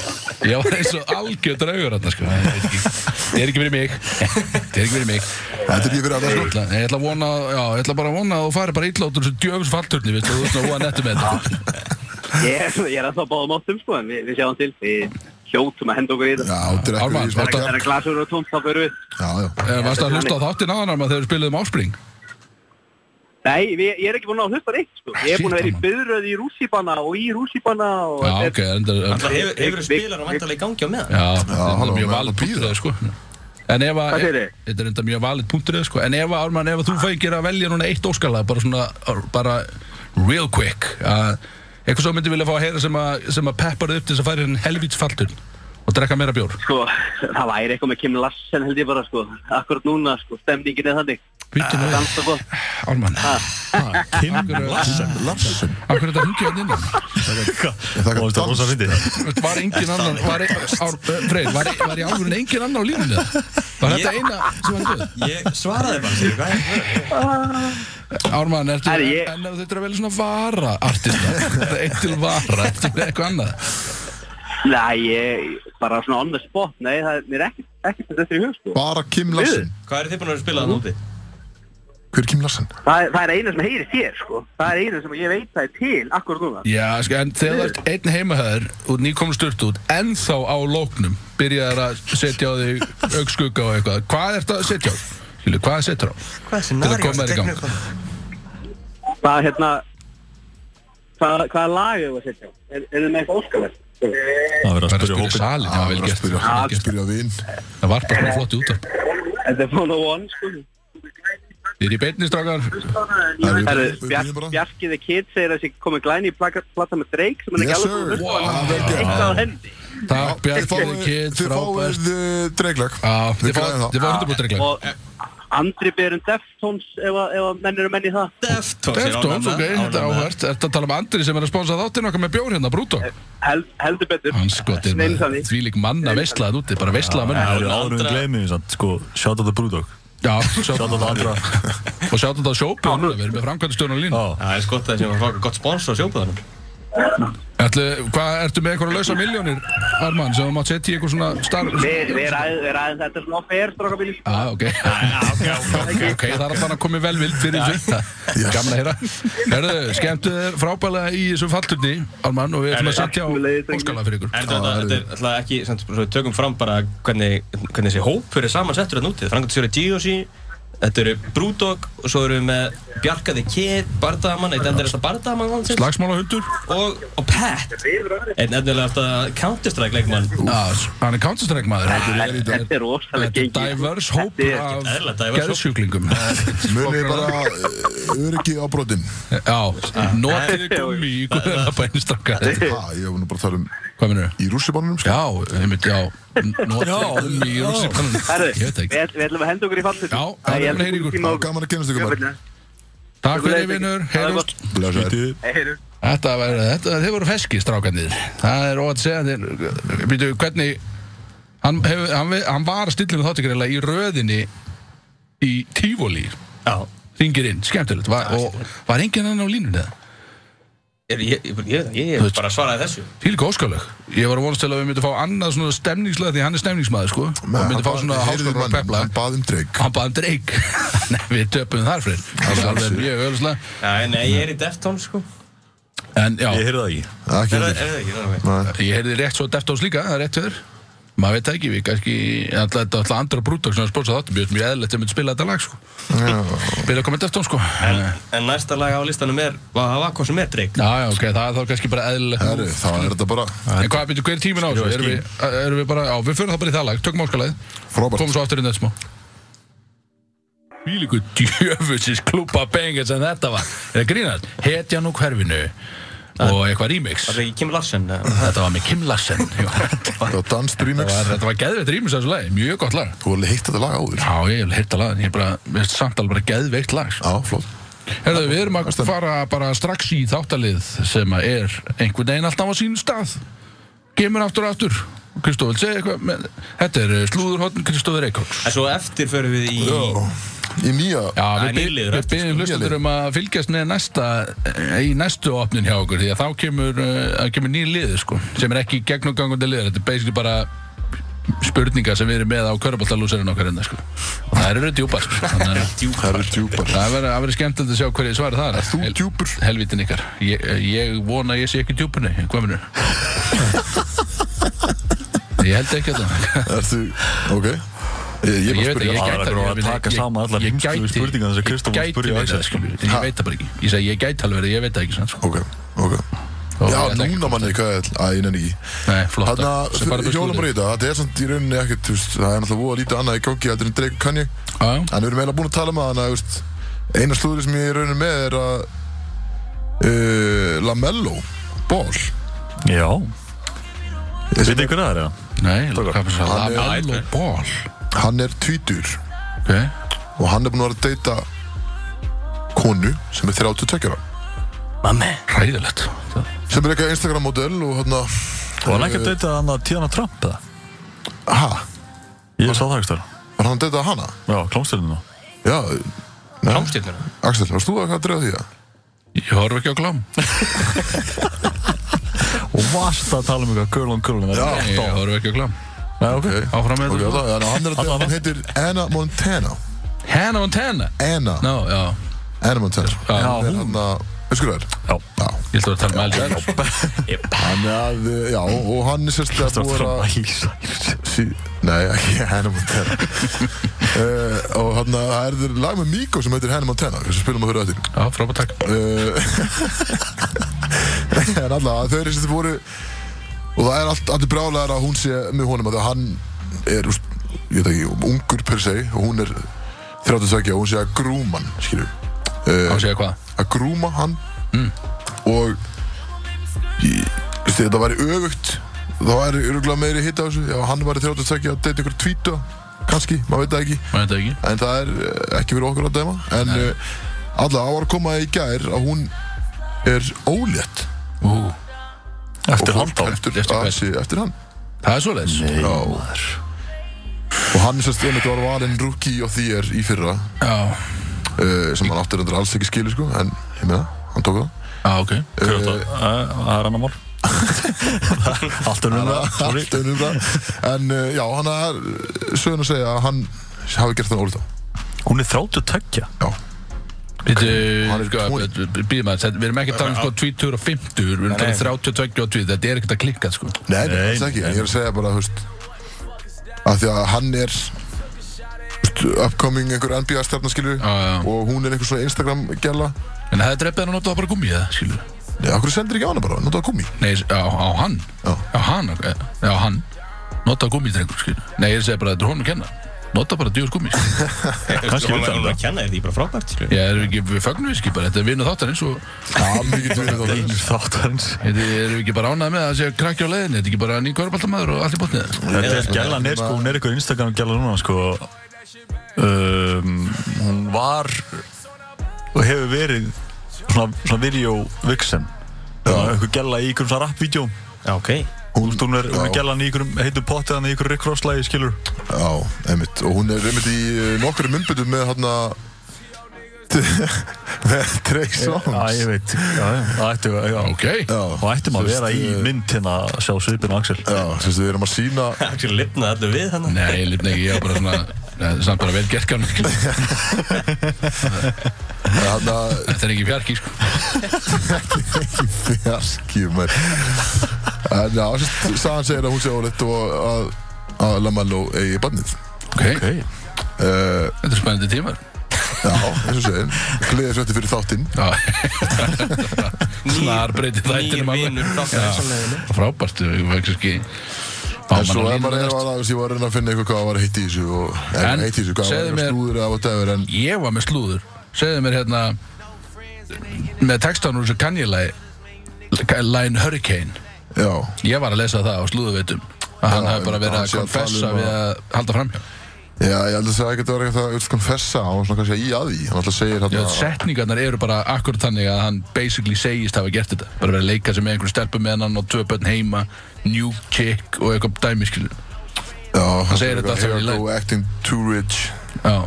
Ég var eins og algjörður augur hérna, sko. Ég veit ekki, þetta er ekki verið mig. Þetta er ekki verið mig.
Þetta er ekki fyrir alla,
Ég
sko.
ætla, ég ætla að vona, já, ég ætla bara að vona að þú fari bara illa út úr þessu djöfus fallturni, veist, þú veist að hóa nettu með þetta.
Ég er- ég er alltaf báðum áttum sko, en við, við sjáum til, við hljótum að henda okkur í
Já,
þetta.
þetta er
Ármann,
ekki í smá
þetta-
gap.
Þegar glasur eru tómt, þá fyrir við.
Já, já.
Eh, Varstu að hlusta á þáttinn áðan Arma, þegar við spiluðum um áspring?
Nei, við, ég er ekki búinn að hlusta reitt, sko. Ég er
Shit,
búinn að vera í
Ármann.
byðröð í rússipanna og í rússipanna og...
Já, ok, enda,
Það
já,
hefur, hefur spilar og vantarlega í gangi á meðan.
þetta er
halló,
mjög
menn,
valið
það bíður.
punktur eða sko. En ef að,
Hvað segirðu?
þetta er enda mjög valið punktur eða sko, en ef að Arman, ef að þú fækir að velja núna eitt óskalag, bara svona, bara real quick, að eitthvað svo myndi vilja fá að heyra sem að, sem að peppar þig upp til þess að færi henn helvíts fallturn og drekka meira bjór.
Sko, það væri eitthvað með Kim Larsen held ég bara, sko. Akkurat núna, sko, stemningin er þannig.
Býttu nú við.
Dansa gott.
Arman,
Kim
Larsen, Larsen.
af hverju þetta hungið hann innan?
Það
Það
er
var rosa fyndið.
Veist, var engin annan var, e- ár, Freyr, var, e- var í alvöru engin annan á lífinu var þetta
Ég-
eina sem var döð
Ég svaraði bara, sér, hvað er það?
Ármann, ertu,
Herri, ég-
en ef þetta er vel svona vara artista, þetta er einn til vara ertu með eitthvað annað
Nei, ég, bara svona on the spot, nei, það er mér ekkert, ekkert þetta er í hug, sko.
Bara Kim Larsen.
Hvað eru þið búin að vera að spila það núti?
Hver er Kim Larsen?
Það er, það er eina sem heyri þér, sko. Það er eina sem ég veit það er til, akkurat núna.
já, sko, en þegar þú ert einn heimahöður og nýkomur sturt út, ennþá á lóknum byrjaðar að setja á þig augskugga og eitthvað, hvað ertu að setja á? Skilu, hvað setja á?
Hvað er
Til að koma þér í gang.
Hvað, hérna, hvað, hvaða lag er það að setja? á? Er, er það með eitthvað óskalegt?
Það verður
Það er að
að spyrja
spyrja
hópin.
salin, já, vel
Bara að
gert
spyrja
Ah,
hann, ekki spyrja vin.
það var bara svona flott í útarp
Þetta er Mono One, sko.
þið er í beinni, strákar
Það er-
Herru,
við
Bjark,
byrjum bara.
Bjarki the Kid segir að þessi komið glæni í plaka- plata með Drake sem hann er
Yes,
ekki
sir.
alveg búinn að hlusta á,
Wow,
en
vel gert.
eitthvað á hendi.
takk,
Þið
Bjarki,
fáið-
Kid,
þið
frábært
fáið eh, dreglag.
Já,
Við
þið fá
græðum það.
þið fá 100% regla
Og Andri Berund Deftones ef, að- ef að menn eru menn í það.
Deftones, ég er
Deftones,
ánægð
ok,
með-
þetta er
ánægð með það.
áhvert Þetta tala um Andri sem er að sponsa þáttinn okkar með bjór hérna, Brúto
Held, heldur betur.
Hann skotir
Neinu sannig.
því lík manna veislaðan úti, bara veislaðan
Það
mönnum
eru
Andra-
áður en gleymið því samt, sko, shout out to Brewdog.
Já, sjá-
Shout out to Andra.
og sjáttu þetta á sjópu Við erum með framkvæmstjónu línu
Já,
Það er skott að sem að fá eitthvað gott spons á sjópaðanum.
Ætli, Hvað, ertu með einhverja lausa miljónir, Arman, sem þú mátt setja í eitthvað svona starf
Við við ræðum við ræðum þetta svona fer, strákabílis.
Já, ok Ok, það er alltaf að koma vel vild fyrir þessu
Yes.
Gamla heyra Herðu, skemmtu þér frábælega í þessum fallturni, Arman Og við ætlum að setja á
Sömuleiðis, drengir.
óskala fyrir ykkur
Er þetta, þetta er alltaf ekki, samt, svo við tökum fram bara hvernig, hvernig þessi hópur er samansettur að nútið. Frangat Sjóri Giosi, þetta eru Brúdog og svo erum við með Bjarkaði Kid, Bardaman, eitt endur þetta Bardaman landsins
Slagsmálahundur
og, og Pat, einn endilega alltaf Counter-Strike leikmann.
Já, hann er Counter-Strike maður
Þetta er rosalega
sko. Þetta er
gengið. sko.
diverse
Þetta
hópur
er-
af
eðla diverse hópur.
gerðsjúklingum
Munið bara eh, öryggi á brotin.
Já, notið gummi í guðabænstrakka
Ha, ég var nú bara að tala um
Hvað minnur þú?
í rússibánunum, sko.
Já, einmitt, já Notið gummi í rússipanum
Herru,
Ég veit ekki
við við ætlum að henda okkur í fallið.
Já, það er bara heyringur.
Það var gaman að kynast ykkur bara.
Takk fyrir vinnur, heyrjumst
Blessaður.
Bítið.
Heyru.
Þetta var, þetta, þið voru feski strákanir Það er óvægt að segja þér Býtu, hvernig Hann, hef, hann, ve- hann var stillinu þáttekirlega í röðinni í tífólí
Já.
ringir inn, skemmtilegt var, og var enginn annan á línunni eða?
Ég, ég, ég, ég, ég, ég bara svaraði þessu.
Fylg óskalög. Ég var að vonast til að við myndum fá annað svona stemningslega því hann er stemningsmaður sko og myndum fá svona háskólar og pepla
Hann bað um dreg.
Hann baðum dreik Nei, við töpum þar fyrir Það er alveg mjög öðvölslega
Já, nei, ég er í Deftones sko.
En já,
Ég heyrði það
Það er ekki
ekki
Er það
heldur.
er það ekki? Það er ok.
Nei.
ég heyrði rétt svo Deftones líka, það er rétt fyrir maður veit það ekki, við kannski alltaf þetta alltaf andra brúttak sem að spónsa þáttum, ég veit mjög eðlilegt að myndi spila þetta lag sko,
Já,
byrja að koma Deftones sko
En,
já,
en næsta lag á listanum er, var, það var hvað sem er Drake.
já, ok, það er þá kannski bara eðlilegt
herri, þá er þetta bara
en hvað byrju, hver er tíminn á þessu, erum við, erum við bara já, við förum það bara í það lag, tökum áskalagið
frábært
komum svo aftur inn þetta smá Vílíku djöfusins klúpa bengar sem þetta var Er það grínast? Hetjan og hverfinu Og eitthvað remix
Það er ekki Kim Larsen. eða-
Þetta var með Kim Larsen jú. Þetta var,
Það var danst remix
þetta var geðveitt remix af þessu lagi Mjög gott lag
Þú hefði heitt þetta lag áður
Já, ég hef hirt að laga Ég er bara, mér finnst samt alveg bara geðveikt lag sko.
Já, flott
Herðu, við erum að fara bara strax í þáttalið sem að er einhvern veginn alltaf á sínum stað Gemur aftur og aftur Kristóf, vil segja eitthvað með, Þetta er slúðurhóttn Kristófur Eikóks
En svo eftir förum við í...
Í nýja
Já,
Það er
við,
nýr
byr,
liður
við
eftir,
byrjum hlustendur um að fylgjast með næsta, eh, í næstu opnin hjá okkur því að þá kemur, uh, kemur nýr liður sko, sem er ekki gegnumgangandi liður þetta er basically bara spurningar sem við erum með á köruboltalúsarinn okkar hérna sko. og það eru djúpar sko. þannig að
Það eru djúpar
það verður- það verður skemmtilegt að sjá hverju svarið það er
Þú djúpur
helvitin ykkar ég, ég vona að ég sé ekki djúpunni hvað minnur ég held ekki að það
Ertu, ok Ég, ég,
ég
bara hérna. spurði
veit ekki, ég gæti
það. Það er bara að
verið-
taka
ég-
saman allar
ég
heimsku
gæti-
spurningar sem Kristó var að
ég
spurja
gæti verið
Axel.
það, skilur við. ég
Ha?
veit það bara ekki ég sagði ég gæti alveg verið, ég veit það ekki sann sko.
Ok, ok
Og
Já,
ég ætla ekki-
núna manni, hvað er Æ, ég nenni ekki
nei, flott
Þannig
það. Sem bara
að
best
hjólum
út
bara í þetta Það er samt í rauninni ekkert þú veist, Það er náttúrulega voða lítið annað í gangi heldur en Drake og Kanye
Já, já.
En við erum eiginlega búin að tala um það Þannig að þú veist, eina slúðri sem ég er rauninni með er að uh, Lamello Ball
Já
Þessi,
Vitið ykkur að það er það?
nei, hvað er það
Hann er-
Lamello Ball
Hann er tvítur
ok,
Og hann er búin að vera að deyta Konu sem er 32 ára
Mamma.
ræðilegt
Sem er eitthvað Instagram modell og hérna
Og hann ekki að deyta hann að Tiana Trump eða?
Ha,
Ég sá það ekki stöður
var hann að deyta hana?
Já, klámstilinu
Já,
Rámstjörnur.
Axel, varst þú eitthvað að drefa því að?
ég horf ekki á glám
Og varst að tala um eitthvað girl on girl Já
ég horf ekki á glám
Nei, ok
áfram með
Ok,
þetta
það, þannig að hann er að deyta, hann heitir Anna Montana
Hannah Montana
Anna,
Ná, já,
Anna Montana
Já,
Hún er
hún.
hann að, veistu hvað það er?
Já.
Já,
ég ætla að tala um með Elsa
hann er að, já, og hann er sérst að
Það var
búið
frá
að
Æsæl
sí, Nei, ekki Anna Montana uh, Og hann að, það er lag með Miko sem heitir Anna Montana sem spilum að höra þetta
já, frábært takk
uh, En alltaf, þau eru sérst að voru Og það er allt, allir brálegar að hún sé með honum að hann er, úst, ég veit ekki, ungur per se og hún er 32 og hún sé að grúman, skilju
á að segja hvað
Eh, að grúma hann og ég, veist, þetta væri öfugt þá væri örgulega meiri hitt á þessu ef hann væri 32 að deyta ykkur tvítu kannski, maður veit það ekki
maður veit það ekki
en það er eh, ekki verið okkur að dæma en uh, alltaf, það var að koma í gær að hún er ólétt
Ú,
Eftir
og fólk
hálft ár
heldur
Eftir hvern?
að sé eftir hann
það er svoleiðis
Já. og hann sérst einmitt var valinn rookie og því er í fyrra
já,
uh, sem hann áttur endur alls ekki skilu sko, en ég meina, hann tók það
já, ok
Hver var það? Æ, Eh, Það er annar mál Allt er núna Sorry
Allt um það En uh, já, hann er sögurinn að segja að hann hafi gert það ólítá
Hún er 32
Já,
Býtu,
Hann er
sko,
tvo-
býðum að við erum ekki að tala um sko 20 og 50 við erum að tala um 30, 20 og 20 þetta er ekkert að klikka sko
nei, nei,
Nei,
alls ekki
nei.
En ég er að segja bara, þú veist að Því að hann er þú veist, upcoming einhver NBA stjarnaskilur
Já, já.
og hún er einhver svona Instagram gæla
en það er dreppið hann að nota það bara gummi eða skilur
Nei, okkur sendir ekki á hana bara, nota að komi
nei, á, á hann
Já.
á hann, ok, já hann nota gummi drengur skilur nei, ég er að segja bara að þetta er honum að kenna nota bara djúrs gummi skilur.
Kannski
Hún
veit hann
er
það.
að kenna þér því bara frábært, skilur.
ég er ekki, við fögnum við skilur bara þetta er vinnu þáttarins og
Já, mikið dvinni þá
Einur þáttarins
þetta er við ekki bara ánað með að það sé krakki á leiðinni þetta er ekki bara ný kvörbaldamaður og allt í botnið
Þetta er gælan er sko, hún er eitthvað Instagram gælan núna sko um, Hún var og hefur verið svona, svona video vixen eitthvað gæla í ykkur svona rap-vídeó
Já, ok.
Hún, hún er, hún er
já.
gælan í ykkur, heitur pottið hann í ykkur Rick Ross-lægi skilur
Já, einmitt, og hún er einmitt í eh, nokkru myndbytum með hann með Trey
Já,
Songz
ég veit já, já. Það ætti, já.
ok,
Já,
Og ætti maður að
Þú
vera
veist,
í
eh,
mynd hérna að sjá svipin á Axel
Já, þú veist, við erum að sína
Axel lifnaði allir við hann.
nei, lifna ekki ég var bara svona Það er samt bara vel gert sko. kannu Þetta
Þannig að
er ekki fjarki sko
ekki fjarki maður. En já, sérst, Sagan segir að hún sé ólétt og að, að Lamello eigi barnið
Ok,
Ok
uh,
þetta er spennandi tímar
Já, eins og segir Gleðið svetti fyrir þáttinn
Snar breytið þættinum
Nýjir
alveg.
vinnur þáttar
Já.
þessanleginu
Frábært, við veikum ekki Fá
En
mann
svo
á
er bara
línuna
ef
næst.
að ég var að reyna að finna eitthvað hvað var heitt í þessu og,
En,
En heitt í þessu, hvað var
segðu mér-
eitthvað slúður eða whatever En
Ég var með slúður Segðu mér hérna Með textan úr þessu kanjilægi Line Hurricane
já,
Ég var að lesa það á slúðuveitum að hann
Já,
hafi bara
ég-
verið
hann
að
sé að
konfessa
tala um
við að halda framhjá
já ég held að það ekkert að vera eitthvað að konfessa og svona kannski í að því Hann alltaf segir
Já,
hérna
setningarnar eru bara akkurat þannig að hann basically segist hafa gert þetta bara verið að leika sig með einhverjum stelpum með hann og tvö börn heima, new chick og eitthvað dæmiskilu
Já, hann
segir þetta alltaf í
Here I go
lagi.
acting too rich
Já,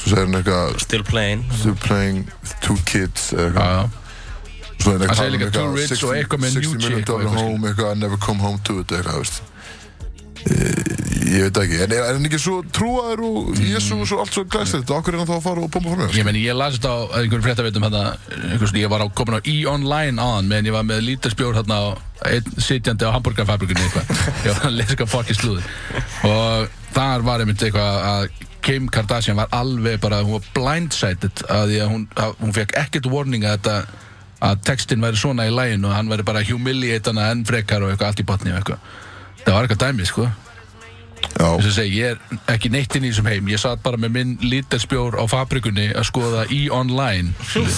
Svo segir hann eitthvað
Still playing
Still playing with two kids eða
já,
eitthvað
já,
Svo er
Hann
það
segir líka too rich og eitthvað með new
60 million
chick og
dollar
eitthvað
home, eitthvað, I never come home to it, eitthvað, þú veist. Eh, Ég veit ekki, en er er hann ekki svo trúaður og Jésús og allt svo glæstir
Mm.
þetta, okkur er hann þá að fara og bomba fram með
Ég meni, ég las þetta á einhverjum fréttaveitum hérna, einhvers, ég var á, komin á e-online aðan meðan ég var með lítarspjór hérna á einn sitjandi á hamburgarfabrikunni eitthvað. Ég var að lesa eitthvað fokki slúður. Og þar var einmitt eitthvað að Kim Kardashian var alveg bara, hún var blindsided að því að hún, að hún fekk ekkert warning að þetta að textin væri svona í lægin og hann væri bara humiliate hana enn frekar og eitthvað allt í botni og eitthvað. Það var eitthvað dæmi, sko.
Já,
Þess að segja, ég er ekki neitt inn í þessum heim Ég satt bara með minn lítarspjór á fabrikunni að skoða í online skilju.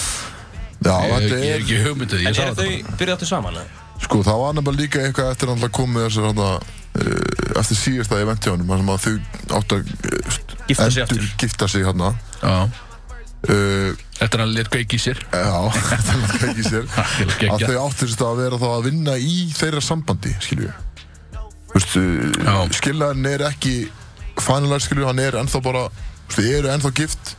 já,
Ég
þetta
ég er
er,
ekki hugmynduð, ég
En
sá þetta
er
bara
þau byrjað áttu saman? eða?
sko, það var nefnilega líka eitthvað eftir hann að koma með þessar hann að eftir síðasta ég venti á hann, sem að þau átt að eh,
Gifta sig aftur.
endurgifta sig hann að
Já,
uh,
Eftir að hann létt kveiki í sér
Já, þetta er langt ekki sér
Algjörlega
að
geggjað.
þau áttu þess að vera þá að vinna í þeirra sambandi, skilju Vistu,
Já.
skiljan eh, er ekki fænilega, skilju, hann er ennþá bara þau eru ennþá gift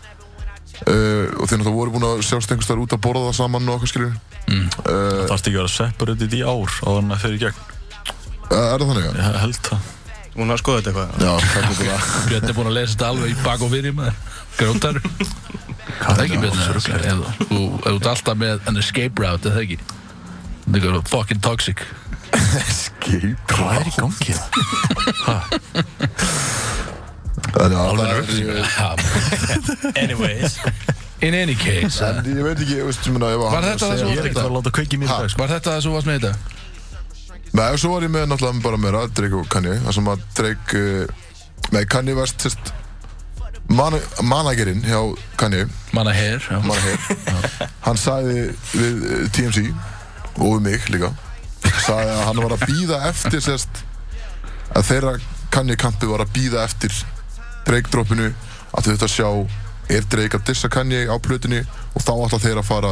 uh, og þeir náttúrulega voru búin að sjást einhvers þar út að borða það saman og okkur, skilju
Það þarfst ekki að vera separated í ár á þannig að fyrir gegn
Eh, Er það þannig?
Ég held það
Hún var að skoða þetta eitthvað
Já, þetta er bara
Björn er búinn að lesa þetta alveg í bak og fyrir maður Grótar Það er ekki Björn eða- eða- Þú þú ert alltaf með an escape route, er það ekki Það er eitthvað fucking toxic
Skeip
Hvað er í gangi
hérna?
það?
Það er
Já.
Anyways
In any case
En
eh,
ég veit ekki, ég veist, ég meina, ég var
Var þetta það sem
Ég er ekkert að fara að láta kveiki mér í dag sko.
eh, Var þetta það sem þú varst með þetta?
Nei, og svo var ég með náttúrulega bara meira Drake og Kanye Það sem að Drake uh, Nei, Kanye varst sérst man Managerinn hjá Kanye
Manna hair já.
Manager Hann sagði við uh, TMC Og við mig líka Sagði að hann var að býða eftir sérst Að þeirra Kanye kampi var að býða eftir Drake droppinu Að þau þetta sjá Er Drake að dissa Kanye á plötinu Og þá ætla þeir að fara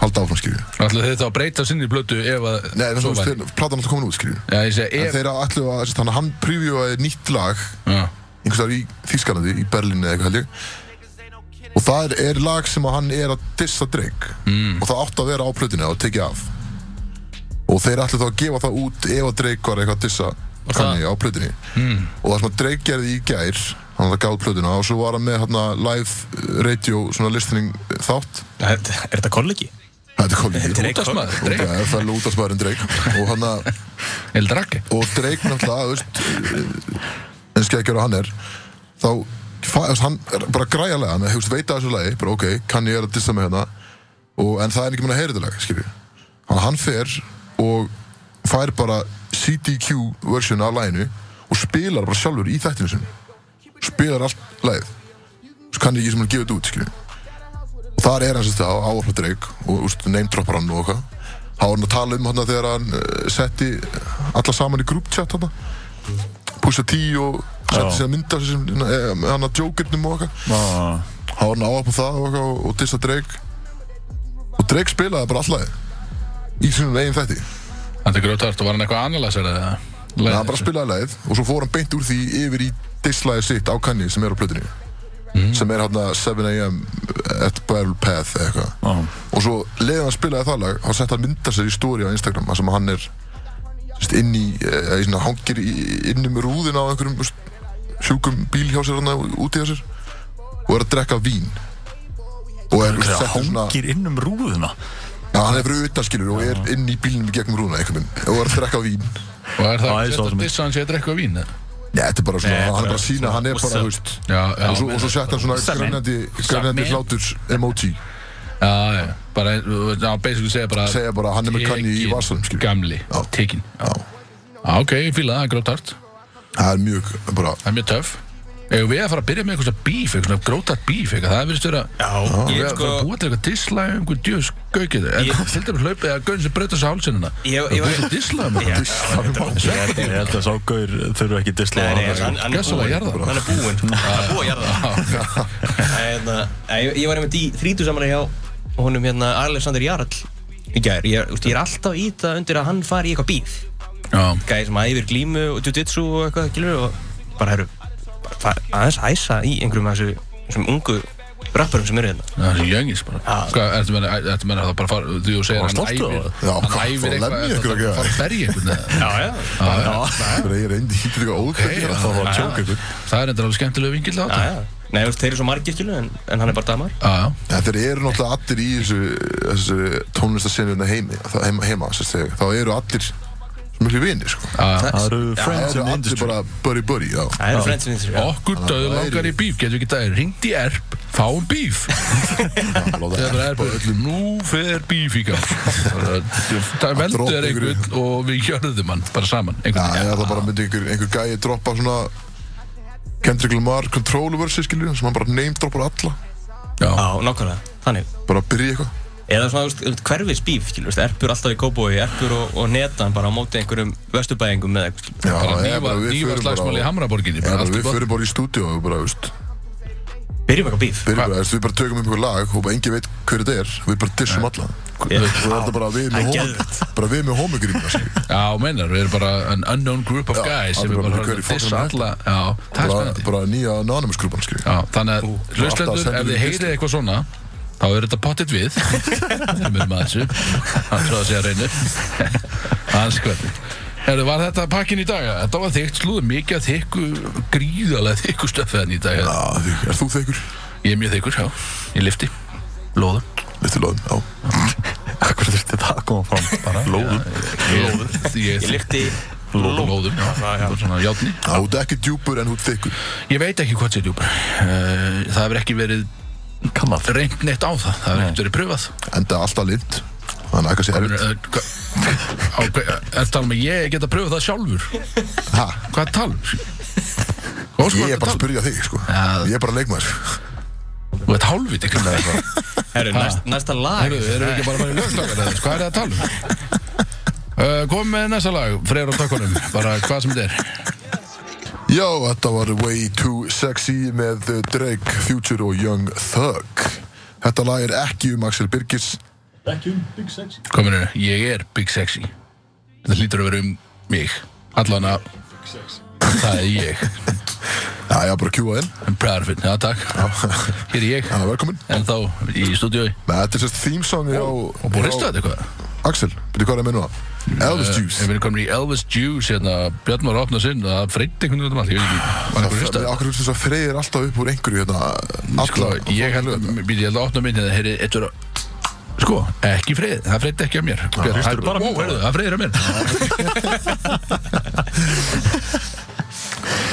Halda áfram skilju
Ætlaðu þið þá að breyta sinni í blötu ef að
Nei, þannig
svo
að
væri?
þeir- platan alltaf komin út skilju
Já, ég segi
En
ef
þeirra allu að, sérst, hann, hann previewaði nýtt lag
Já.
einhvers þar í Þýskalandi, í Berlín eða eitthvað held ég og það er, er lag sem að hann er að dissa Drake mm. og það átti að vera á plötinu og tekið af og þeir ætlu þá að gefa það út ef að Drake var eitthvað að dissa Kanye á plötinu mm. og það sem að Drake gerði í gær hann það gáð plötuna og svo var hann með hérna, live radio svona listening eh, þátt
Er er þetta kollegi?
þetta er kollegi
Útastmaður,
og
dreik,
það er fæll út af spæðurinn Drake og hann að
eldraki
og Drake náttúrulega þú veist, en skekkjur og hann er þá fa- þú veist, hann er bara græjalega hann hefst, veit að þessu lagi, bara ok, kann ég er að dissa mig hérna og, en það er ekki mun að heyra þetta lag skilju, hann, hann fer og fær bara CDQ version af laginu og spilar bara sjálfur í þættinu sinni spilar allt lagið svo kann ég ekki sem hann gefa þetta út skilju og þar er hann sérst á áhörfla Drake og úst, neymdroppar hann og okkar þá var hann að tala um hann þegar hann uh, setti alla saman í grúpchat hann púsa tí og setti
Já.
sér að mynda sem, eh, með hann að jókirnum og okkar
Já,
þá var hann áhörfla það og okkar og, og dissa Drake og Drake spilaði bara allagi í sínum eigin þætti
Þetta er grjótart og var hann eitthvað analyzer eða?
Nei, hann bara spilaði lagið og svo fór hann beint úr því yfir í disslagið sitt á Kanye sem er á plötunni sem er hérna 7am at Battle Path eða eitthvað
já.
og svo leiðan hann spilaði það lag hann sett hann mynda sér í stóri á Instagram þar sem eh, hann er sest, inn í, eða í svona hangir í, inn um rúðina á einhverjum sest, sjúkum bíl hjá sér hann úti hjá sér og er að drekka vín og er
Það
settur svona
hangir inn um rúðuna
Já, hann er fyrir utan skilur og er inn í bílinum í gegnum rúna einhvern veginn og er að drekka vín
Og er það
Já,
ekki
ég
sett
sá það
að
mynd.
dissa hans ég að drekka vín? eða?
Nei, þetta er bara svona,
Nei,
hann er
bara
bara að sína, hann er
what's
bara,
up?
þú veist
Já, já,
og svo, og svo
meina-
sett hann svona
What's up, man?
grænandi,
What's up,
grænandi
man?
hlátur emoji,
já, já, bara, já, basically segja bara
segja bara hann er með kanni í
Tekin,
vasanum, skilur
Gamli,
Já.
tekin Já, ok, ég fíla það, það er grótart
Það er mjög, bara,
Það er mjög töff Ef við að fara að byrja með eitthvað svona bíf, eitthvað svona grótart bíf eitthvað, það virðist vera
Já,
Ég
ég
er
sko
sko að búa til eitthvað dislæg um einhver djöðs gaukið En
Ég-
til dæmis hlaupið að gaun sem breyta sér hálsinnina
Ég-
Það
ég var-
búið til dislæg um
Já,
eitthvað
Ég ég held að sá gaur þurfa ekki disla
Nei, nei, hann, hann er
Gjörsamlega
búinn,
jarðaður.
hann er búinn, hann er búinn að jarða það. Ég var einmitt í þrítu samanlega hjá honum hérna Alexander Jarl í gær. Ég, úst, ég er alltaf í þetta undir að hann fari í eitthvað bíf.
Já,
Gæði sem æfir glímu og jiu-jitsu og eitthvað, gilur, og bara herru, bara far- aðeins æsa í einhverjum af þessu, þessum ungu rapparum sem eru hérna.
það er jöngis bara Hvað, ertu meina, ertu meina að það bara fara, því þú segir
Bara
hann
stoltur á
æfir
það. Já,
Hann
hvað, fór
æfir
að
eitthvað,
lemja
ertu
ykkur að
að
gera?
fara að berja einhvern eða?
Já, já.
Já, já.
það er reyndi hýttir eitthvað óþægt að gera
já,
það var
já,
að
já.
tjóka ykkur
Það er endur alveg skemmtilega vingill á
Já,
þetta.
já. Nei, þú veist, þeir eru svo margir, skilur, en, en hann er bara damar.
Já, já.
Þetta eru náttúrulega allir í þessu, þessu tónlistasennuna heimi, það- heima, heima sem segja, þá eru allir sem miklu vinir, sko
Það eru
Það eru
friends in the
allir
sko.
industry
bara buddy-buddy, já
Það eru friends in this.
Okkur döðu langar í bíf, getur við ekki dagir Ringt í erp, fáum bíf
Það
Þegar það er bara öllum Nú fer bíf í gang Það veldur
droppa
er
ykkur í-
einhvern og við hjörðum hann bara saman
Já,
einhvern
já,
veginn.
það bara myndi einhver, einhver gæi droppa svona Kendrick Lamar Controversy, skilur, sem hann bara name droppar alla
Já,
Já, nákvæmlega, þannig.
bara að byrja í eitthvað
Eða svona, þú veist, hverfis bíf, skilur, veist, erpur alltaf í kóbói, erpur og, og netan bara á móti einhverjum vesturbæðingum með eitthvað, skilur.
Já,
bara
ég
nýfa,
við
nýfa
förum
slagsmáli í
bara á-
Hamraborginni
Já,
bara
bara
allt í
við
botn.
förum bara í stúdíu og bara, veist
Byrjum eitthvað bíf.
byrjum bara, veist, við bara tökum upp ykkur lag og bara engin veit hver þetta er við bara dissum alla og
Já.
það er þetta bara við
Það er
með
geðveikt.
homo- bara við með homogríma skilur.
Já, meinar, við erum bara an unknown group of
Já,
guys sem
allir
við
bara
bara
hver í
höfum að dissa
fokkanum
alla Já, það er
bara,
spennandi
bara nýja anonymous grúpan skilur
Já, þannig
Ú,
að
alltaf
hlustendur,
sendur
ef þið
við
heyrið
pistil.
eitthvað svona þá er þetta pottitt við sem erum að þessu hann tróði að segja reynu hans hvernig Herðu, sko var þetta pakkin í dag? eða? Þetta var þykkt slúður, mikið að þykku, gríðarlega þykku stöfðan í dag. eða?
Já, þig- er þú þekur?
Ég er mjög þykkur, já, í lifti, lóðum.
Littu loðum, já
Akkur þurfti það að koma fram Lóðum
Lóðum? Ég
Ég
er
lyfti
lóðum, lóðum, já, já, svona játni.
Já, þú ert ekki djúpur en þú ert þykkur
Ég veit ekki hvað sé djúpar. Eh, Það hefur ekki verið
Kannað
reynd neitt á það, það hefur ekkert verið pröfað.
en það er alltaf lind þannig að kannski
Er eh,
erfitt
það talað um að ég geta pröfað það sjálfur?
Ha,
Hvað tal? Óskar,
ég er bara að
spyrja
spyrja þig sko
Já.
ég er bara að leikmaður
um? Þú ert hálfviti Hvað er það?
Herru, næst, næsta lag.
Heyrðu, erum við ekki bara að fara í lögstakar eða? Hvað er það að tala um? Uh, komum með næsta lag, freyra á takkunum bara hvað sem þetta er
Já, þetta var Way Too Sexy með Drake, Future og Young Thug. Þetta lag er ekki um Axel Birgis.
kominu, ég er Big Sexy þetta hlýtur að vera um mig allan að það er ég,
Já, ég var bara að kjúa inn.
I'm proud of it já takk, hér er ég
Já, velkomin.
en þá í stúdíói
Nei, Þetta er sérst þýmsong hjá...
og búið að rista þetta eitthvað
Axel, byrju hvað er að minna það? Elvis
Eh,
Juice.
við erum komin í Elvis Juice hérna, Björn var að opna sinn það freyndi einhvern veginn út um allt, ég veit ekki var hann búið að rista
Það er okkur þess að freyðir alltaf upp úr einhverju hérna.
Sko,
alla-
ég held að, býti, ég held að opna myndin að heyri, eittur að, sko, ekki freyð, það freyði ekki að mér. Það
hlustur bara á myndina.
heyrðu, það freyðir að mér.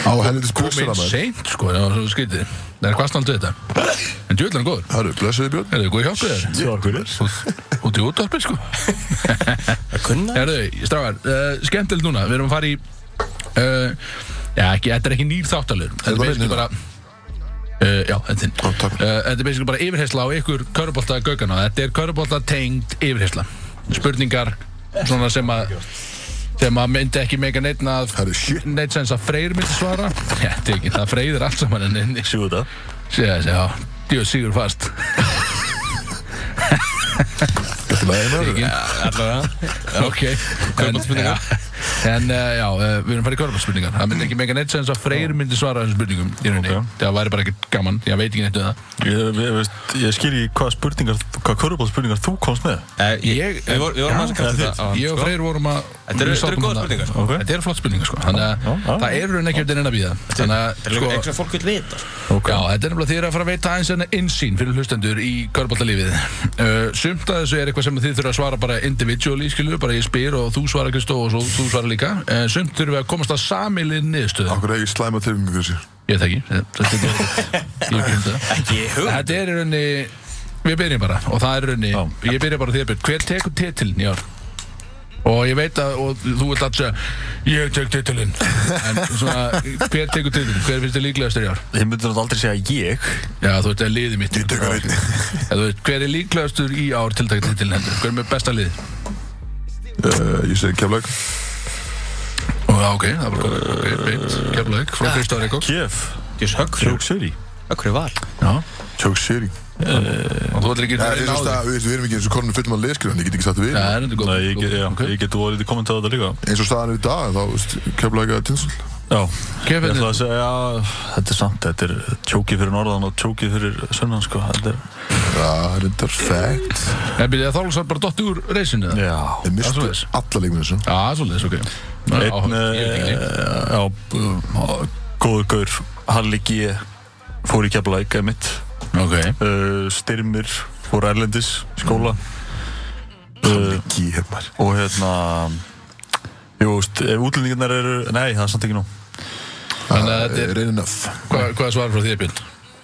Á helvitis
Komið
buksuna
inn
maður.
seint, sko, það var svona skrítið. Það er hvað snaldið þetta. En djúvillan er góður.
Hörru, blessaði Björn.
Herðu, góð hjálpið þér.
Svo akkur er
Út í útvarpið, sko.
Að kunna?
Herðu, strafar, uh, skemmtilegt núna, við erum að fara í, uh, já, ekki, þetta er ekki nýr þáttalur.
það
Þetta
minn
er basically
hérna?
bara, Uh, já, þetta er þinn.
Ó, takk.
Eh, Þetta er basically bara yfirheysla á ykkur körubólta gaugana. Þetta er körubólta tengd yfirheysla. Spurningar svona sem að sem að myndi ekki meika neitt að
Herru, shit.
neitt sens að freyr myndi svara Já, þetta er ekki, það freyðir allt saman en en
Sjú þetta
sé þessi, já, djóð sigur fast
Þetta er lagið maður.
ekki,
Allavega.
ok
Kaupmáttspurningar.
En, já, En uh, já, uh, við erum farið í körfarsspurningar Það myndi ekki mega neitt sens að Freyr myndi svara þessum spurningum í rauninni
Ok.
Það væri bara ekkert gaman, ég veit ekki neitt um það
Ég, ég, veist, ég skil ekki hvað spurningar, hvað körubóðspurningar þú komst með.
Eh,
Ég-
ég- Við vorum- við vorum
Já,
aðeins að kasta
það er
þetta á hann,
Ég og
sko.
Freyr vorum að
Þetta eru-
við sátum
þetta eru góðar
þarna.
spurningar, sko.
Ok.
Þetta eru flott spurningar sko Þannig að
Já, já.
það eru rauninni ekki eftir neina býða Þannig
Þetta
að
er
sko
eitthvað sem fólk vil vita sko.
Ok.
Já, þetta er nefnilega því að fara að veita aðeins enn innsýn fyrir hlustendur í körbáltalífið. Uh, sumt að þessu er eitthvað sem þið þurfa að svara bara individually, skilju, bara ég spyr og þú svarar Kristó og svo þú svarar líka. Uh, sumt þurfum við að komast að samilið niðurstöðu.
Akkur ekki slæma tilfengu fyrir sér
Ég þekki, þetta er ég er ekki um það.
Ekki hug
Þetta er í raunni, við byrjum bara og það er í raunni, ég byrja bara því að byrja. Hver tekur titilin í ár? Og ég veit að, og þú vilt alltaf segja, ég tek titilin. En svona, hver tekur titilin? Hver finnst þið líklegastur í ár?
Ég myndi náttúrulega aldrei segja ég.
Já, þú veist, það er liðið mitt
Ég tek hann einni.
En þú veist, Hver er líklegastur í ár tiltakta til hendur? Hver er með besta lið?
uh, Ég segi keflæk
Ó, Já, ok, það var komið Ok, beint, keflaug, frá Kristóð Reykjók
Kef.
Jós höggur
Sjók Siri.
Höggur er val
Já,
Choke City
og þú ætlir ekki
Já,
að
ég
reyna á
veist
því
að við, við erum ekki eins og konum fullum að leyskir hann, ég get ekki sagt við
Já, það er endur góð
Nei, ég,
góð-
get- já,
ok.
ég get voru lítið kommentað á þetta líka.
eins og staðan er í dag, þá keflæk að tinsl
Já.
Kef,
Ég ætla
hvernig-
að segja, já, þetta er samt, þetta er tjókið fyrir norðan og tjókið fyrir sunnan, sko. Þetta er,
Já, reyndar fact
En byrja þá alveg bara dotti úr reysinu það?
já.
Ég
Það er
mistu
svoleiðis.
alla leikmennu þessu
Já, svolítið, ok Ná,
Einn,
áhugavert, ég veit
eh,
ekki neitt.
já, um, góður gaur, Halli G. fór í Keflavík, emitt.
Ok,
Uh, Styrmir fór Erlendis, skóla. Uh,
Ekki hefmar
og hérna Jú, veist, ef útlendingarnar eru Nei, það er samt ekki nú
Þannig að þetta er-
Reynin öff
hvað hvað er svar frá því, Björn?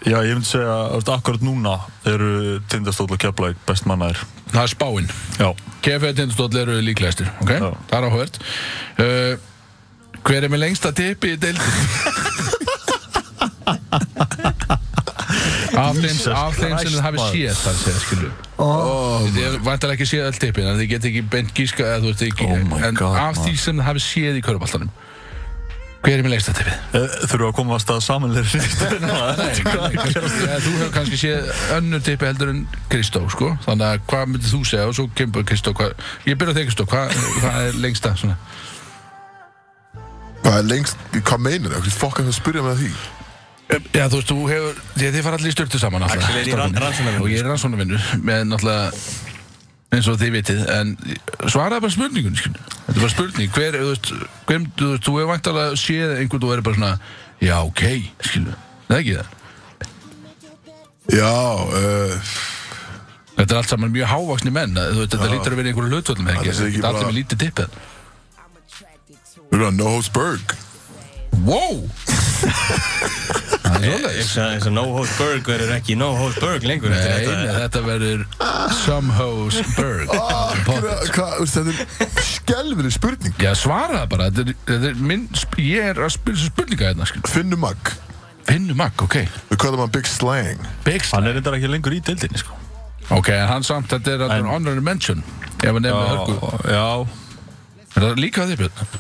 Já, ég myndi segja, þú veist, akkurat núna eru tindastóll og keflæk best mannaðir
Það er spáinn
Já,
KFA tindastóll eru líklegastir, ok?
Já.
Það er áhugavert uh, Hver er með lengsta tippi í deildinni? af þeim, af þeim sem þið hafi
Christ,
séð það séð, skilju oh, Þið vantar ekki séð all tippin en þið get ekki beint gíska eða þú veist ekki
Oh my
en
God,
af því sem þið hafi séð í körubaltanum Hver er með lengsta tippið?
e, þurfum við að koma að stað samanlega
Nei, kannski- eða Þú hefur kannski séð önnur tippi heldur en Kristó, sko Þannig að hvað myndir þú segja og svo kemur Kristó hvað- Ég byrja á þig Kristó, hvað, hvað er lengsta svona?
Hvað er lengst, hvað meinar það? Hvað fokk er það að spyrja með því?
Já, þú veist, þú hefur, því að þið fara allir í styrtu saman náttúrulega.
Axel er í rann- rannsóknarvinnu.
Og ég er rannsónavinnu með náttúrulega eins og þið vitið, en svaraði bara spurningun, skilju. Þetta er bara spurning, hver, þú veist, hver, þú veist, þú hefur vantalega séð einhvern og verið bara svona, já, ok, skilju, það er ekki það.
Já, uh,
Þetta er allt saman mjög hávaksni menn, að, þú veist, þetta lítur að vera í einhverju hlutvöldum,
Það
ekki,
er ekki
þetta er
bara-
allir með lítið tippið.
við erum að No Holds Berg
Wow! Það er
Ég
svoleiðis.
sagði eins og no hold burger er ekki no hold burger lengur
Nei,
Þetta er-
nei, þetta verður Somehows Berg.
Oh,
Hvað, hvað, veist, þetta er skelfileg spurning
Já, svara það bara, þetta er, þetta er minn, sp- ég er að spyrja þessu spurninga hérna, skil.
Finnumag
Finnu Magg, ok.
Við kallum hann Big Slang
Big Star.
Hann er reyndar ekki lengur í deildinni, sko
Ok, en hann samt, þetta er en,
En-
honorary mention, ef hann nefnir hörku.
já,
Er það líka þið, Björn?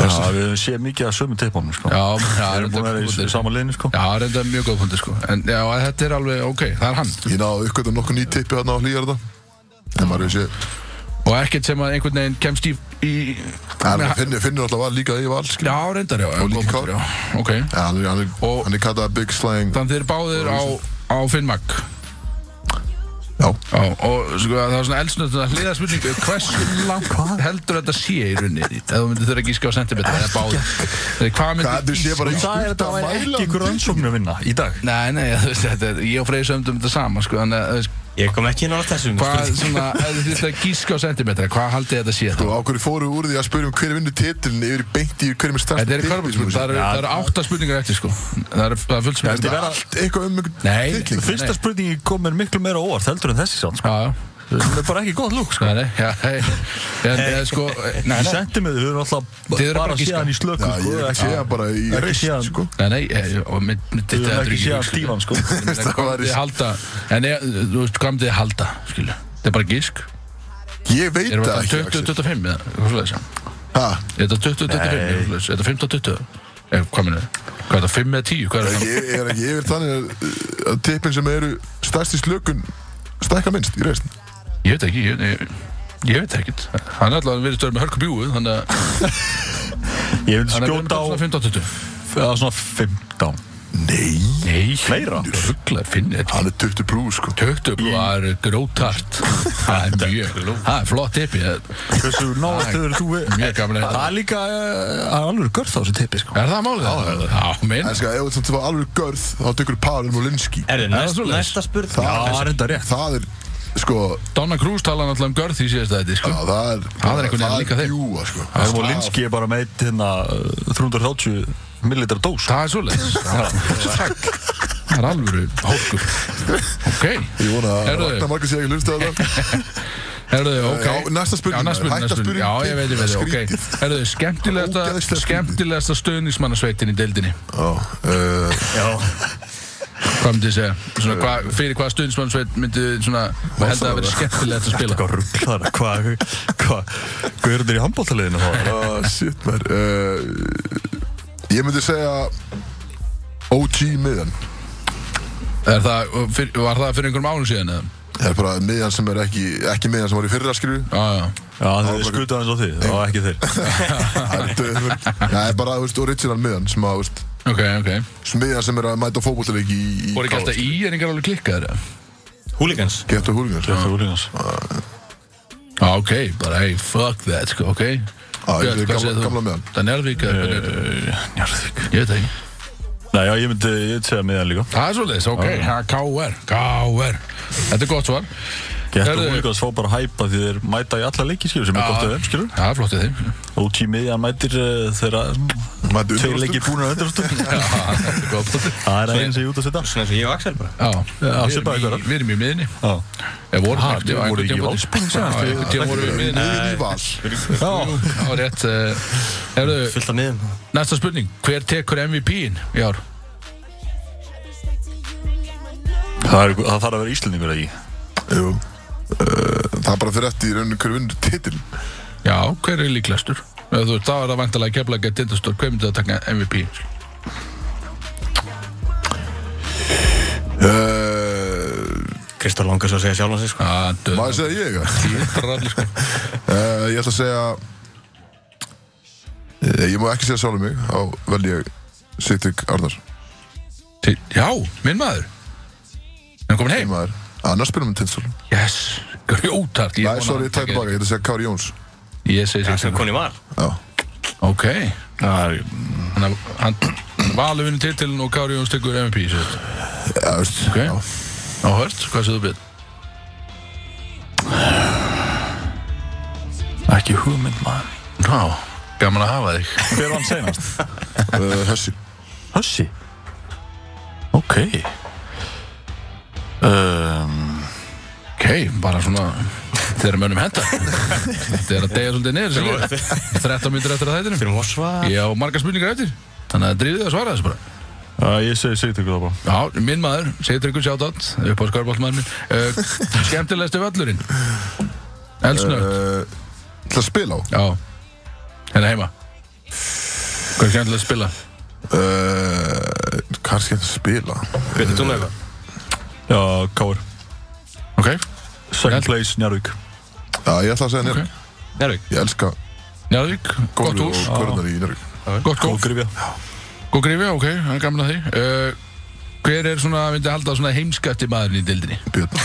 já, við höfum séð mikið að sömu tippunum, sko
Já, já,
Við erum
reyndar
búin að vera
góð
í
punktur.
samanleginu, sko
Já, reynda mjög góð punkti, sko. En já, þetta er alveg, ok, það er hann.
Ég náðu ykkur nokkuð ný tippi hann á hlýjarða En maður hefur séð
Og ekkert sem að einhvern veginn kemst í... í
En
Nei,
finnir, finnir alltaf að líka í val skilur.
já, reyndar, já.
Og
góð
líka Kári.
punktur, já. Ok,
Já, hann er, hann er,
Og-
hann er kallað Big Slang
þannig þeir eru báðir á, á Finn Magg.
Já.
Já, og sko, það var svona eldsnöð að hliða spurningu, hversu langt heldur þetta sé í runni, ef þú myndir þurfa að gíska á sentimetra eða báði, hvað
Hvað,
myndir
þau sé bara í
Það
stúrta
er þetta væri
mæla
ekki ykkur rannsókn að vinna í dag
Nei, nei, þú veist, þetta er, ég og Freyr sömdum þetta sama, sko, þannig að, þú veist,
Ég kom ekki inn á þessum
hvað,
spurningum.
svona, ef þið þurftu að gíska á sentimetra, hvað haldið þetta sé þá?
Og á hverju fóru úr því að spyrja um hver vinnur titilin yfir í beint í hverjum er stærst
Þetta eru körfuboltaspurningar, það eru- það eru átta spurningar eftir, sko, það eru það er fullt sem
Þetta er vera,
Allt eitthvað um einhvern
Nei.
titling
fyrsta spurningi kom mér miklu meira á óvart heldur en þessi sann, sko
Já, já,
Það er bara ekki gott lúk, sko
nei, nei, já, hei, en, eh, sko, nei,
Í
nei,
sentimeter, við erum alltaf
Þið eru bara
bara
að giska.
séðan í slöku,
Já,
sko
ég hef séð hann bara í
Ekki séð
reist
hann.
sko
nei, nei, eh, og mynd, mynd,
Við
þetta
erum
er
ekki séðan
sko.
stífan, sko
Hvað myndi þið halda En ég, þú veist, hvað myndi þið halda Skilu, þetta er bara gísk
Ég veit
Erum
það
við
ekki
þetta
Axel.
20-25 eða eitthvað svoleiðis?
Ha,
Er þetta 20-25 eða
Nei.
eitthvað svoleiðis? Er þetta 15-20 Eh, Hvað minnur Hvað er þetta 5 eða 10 Hvað er það
Ég er ekki yfir þannig að, að tippin sem eru stærst í slökun stækka minnst í reist
Ég veit ekki ég, ég, Ég veit ekkert. Hann er alltaf verið stöður með hörku bjúið, þannig að
Ég vil
hann er verið
skjóta á
með svona 15-20.
eða svona 15
Nei,
Nei,
Meira?
Rugglar, finn, þetta
hann er 20 plus sko
Töktublúar, grótart Það er mjög, það er flott tippi Er
Hversu návægt hefur þú
mjög gaman að þetta.
Það er líka eh, það er alveg görð á þessu tippi sko.
það málið? Já, já minn
En sko, ef þetta var alveg görð, þá tekur Pavel Molinski
Er þið næst,
svoleiðis?
næsta spurning?
Já, það er enda rétt
Það er, sko,
Donna Cruz tala náttúrulega um görð í síðast þetta sko.
já, það er
Það er einhvern veginn líka þeim.
Júa, sko
Það er Molinski er bara meitt hérna eh, 330 millilitra dós sko.
Það er svoleiðis Takk. Það er alvöru hólkur Ok
Ég vona að
Herðu.
Ragnar Markus sé ekki hlusta á þetta
Herðu, ok
Já, næsta spurning,
Já, næsta spurning,
hætta
næsta spurning
spurning.
Já, ég veit, ég veit,
Skrítið.
ok Herðu,
Það er
skemmtilegasta
ógeðslega skrítið.
skemmtilegasta stöðnismannasveitin í deildinni
Já, uh,
Hvað myndið þið segja? Svona, hva, fyrir hvað stöðnismannasveit myndið þið svona Hvað held að vera skemmtilegast að spila?
Hvað rugglar það? Hvað hvað- hvað eru þeir í handbóltaliðinu?
uh, shit, mér uh, Ég myndi segja OG miðan
Er það, fyr, var það fyrir einhverjum ánum síðan eða?
Það er bara miðan sem er ekki, ekki miðan sem var í fyrra skilju
Já, já
Já, þeir skutu aðeins á því, það var ekki þeir
Það er döður Það er bara, þú veist, original miðan sem að, þú veist
Ok, ok
Smiðan sem er að mæta fótbollleiki í, í
Voru ekki alltaf í er einhver alveg klikkaður eða?
Húligans?
Geta húlingar
Það er úlíðans
Já, ok, bara hey, fuck that, sko, ok
Já, ég
Björn,
er
hvað
gamla-
segir þú?
gamla meðan.
Það er njárvík, eða hvernig er þetta?
Njarðvík
Ég veit það ekki
Eh, Nei, já, ég myndi, ég myndi segja miðan líka
Það er svolítið, ok, ha, K.R. K.R. Þetta er gott svar
Gættu
Herðu.
húlíkans fá bara að hæpa því þeir mæta í alla leiki skilur sem er gott að þeim skilur
Það er flott í þeim
OG miðjan mætir uh, þeirra
Mæti
Tveir
undrastum.
leikir búin að undrastu
Já, það er gott
Það er aðeins ég út að setja
Svona eins og ég og Axel bara
Já, við erum
svipaðu ykkur,
í- við erum í miðinni
Já,
Ég voru
Ha,
hægt,
þið
ég var einhvern
voru ekki
tíma Já, einhvern
í Valsbænum, sagði hann.
tíma voru við í miðinni
Miðan í val
Já, rétt eh, Herðu,
Fullt af miðum
næsta spurning Hver tekur MVP-in í ár?
það, er, það þarf að vera Íslendingur eða ekki
Jú uh, Það er bara fyrir eftir í rauninu hverju vinnur titil
Já, hver er líklegastur? Ef þú- Þá er það vantalega keflalega tindastór Hver myndi það taka MVP?
uh,
Kristóf langar svo að segja sjálfan sig sko
Ah, döð-
Maður segja ég það?
Bara allir, sko.
uh, Ég ætla að segja uh, Ég má ekki segja sjálfum mig Á vel ég Sittig Arnar
Til- Já, minn maður Er hann komin heim?
Maður Ah, Annars spilum við tindstól Nei,
Yes, grjótart Ég vona
sorry, ég
hann
tæk
taki-
tilbaka Ég ætla að segja Kári Jóns
Ég segi
Það
sér
sem koni var
Já
Ok
Það er
Hann, hann, hann valur vinnu titilin og Kári Jóns tekur MVP sérst.
Já, veist
Ok Áhört, hvað séu þú byrð?
ekki hugmynd maður
Já, gaman að hafa þig
Hver var hann senast?
uh, Hessi
Hössi Ok Ehm, um,
Ok, bara svona Þeir eru mönnum henda Þeir eru að deyja svolítið niður skilur. 13 myndir eftir að þættinum
Fyrir Mosva
Ég á marga spurningar eftir Þannig að drífið þið að svara þessu bara
uh, Ég segi Sigtryggur það bara
Já, minn maður, segir Tryggur sjátt upp á skarbóltmaður minn uh, Skemmtilegstu völlurinn Elsnögt
uh, ætla að spila á
Já, hérna heima Hvað er skemmtilega að spila?
uh, Kannski að spila
Byrði þú með eitthvað?
Já, Káur
Ok,
Second place, Njarðvík
Já, ég ætla að segja
ok
Njörg
Nervík
Ég elska
Njarðvík, gott
Gólu
hús
og Körnar í Njörg
Gott
Góð
góð,
grifja
góð grifi, ok, það er gaman að því uh, Hver er svona, myndi halda svona heimskatti maðurinn í dildinni?
Björn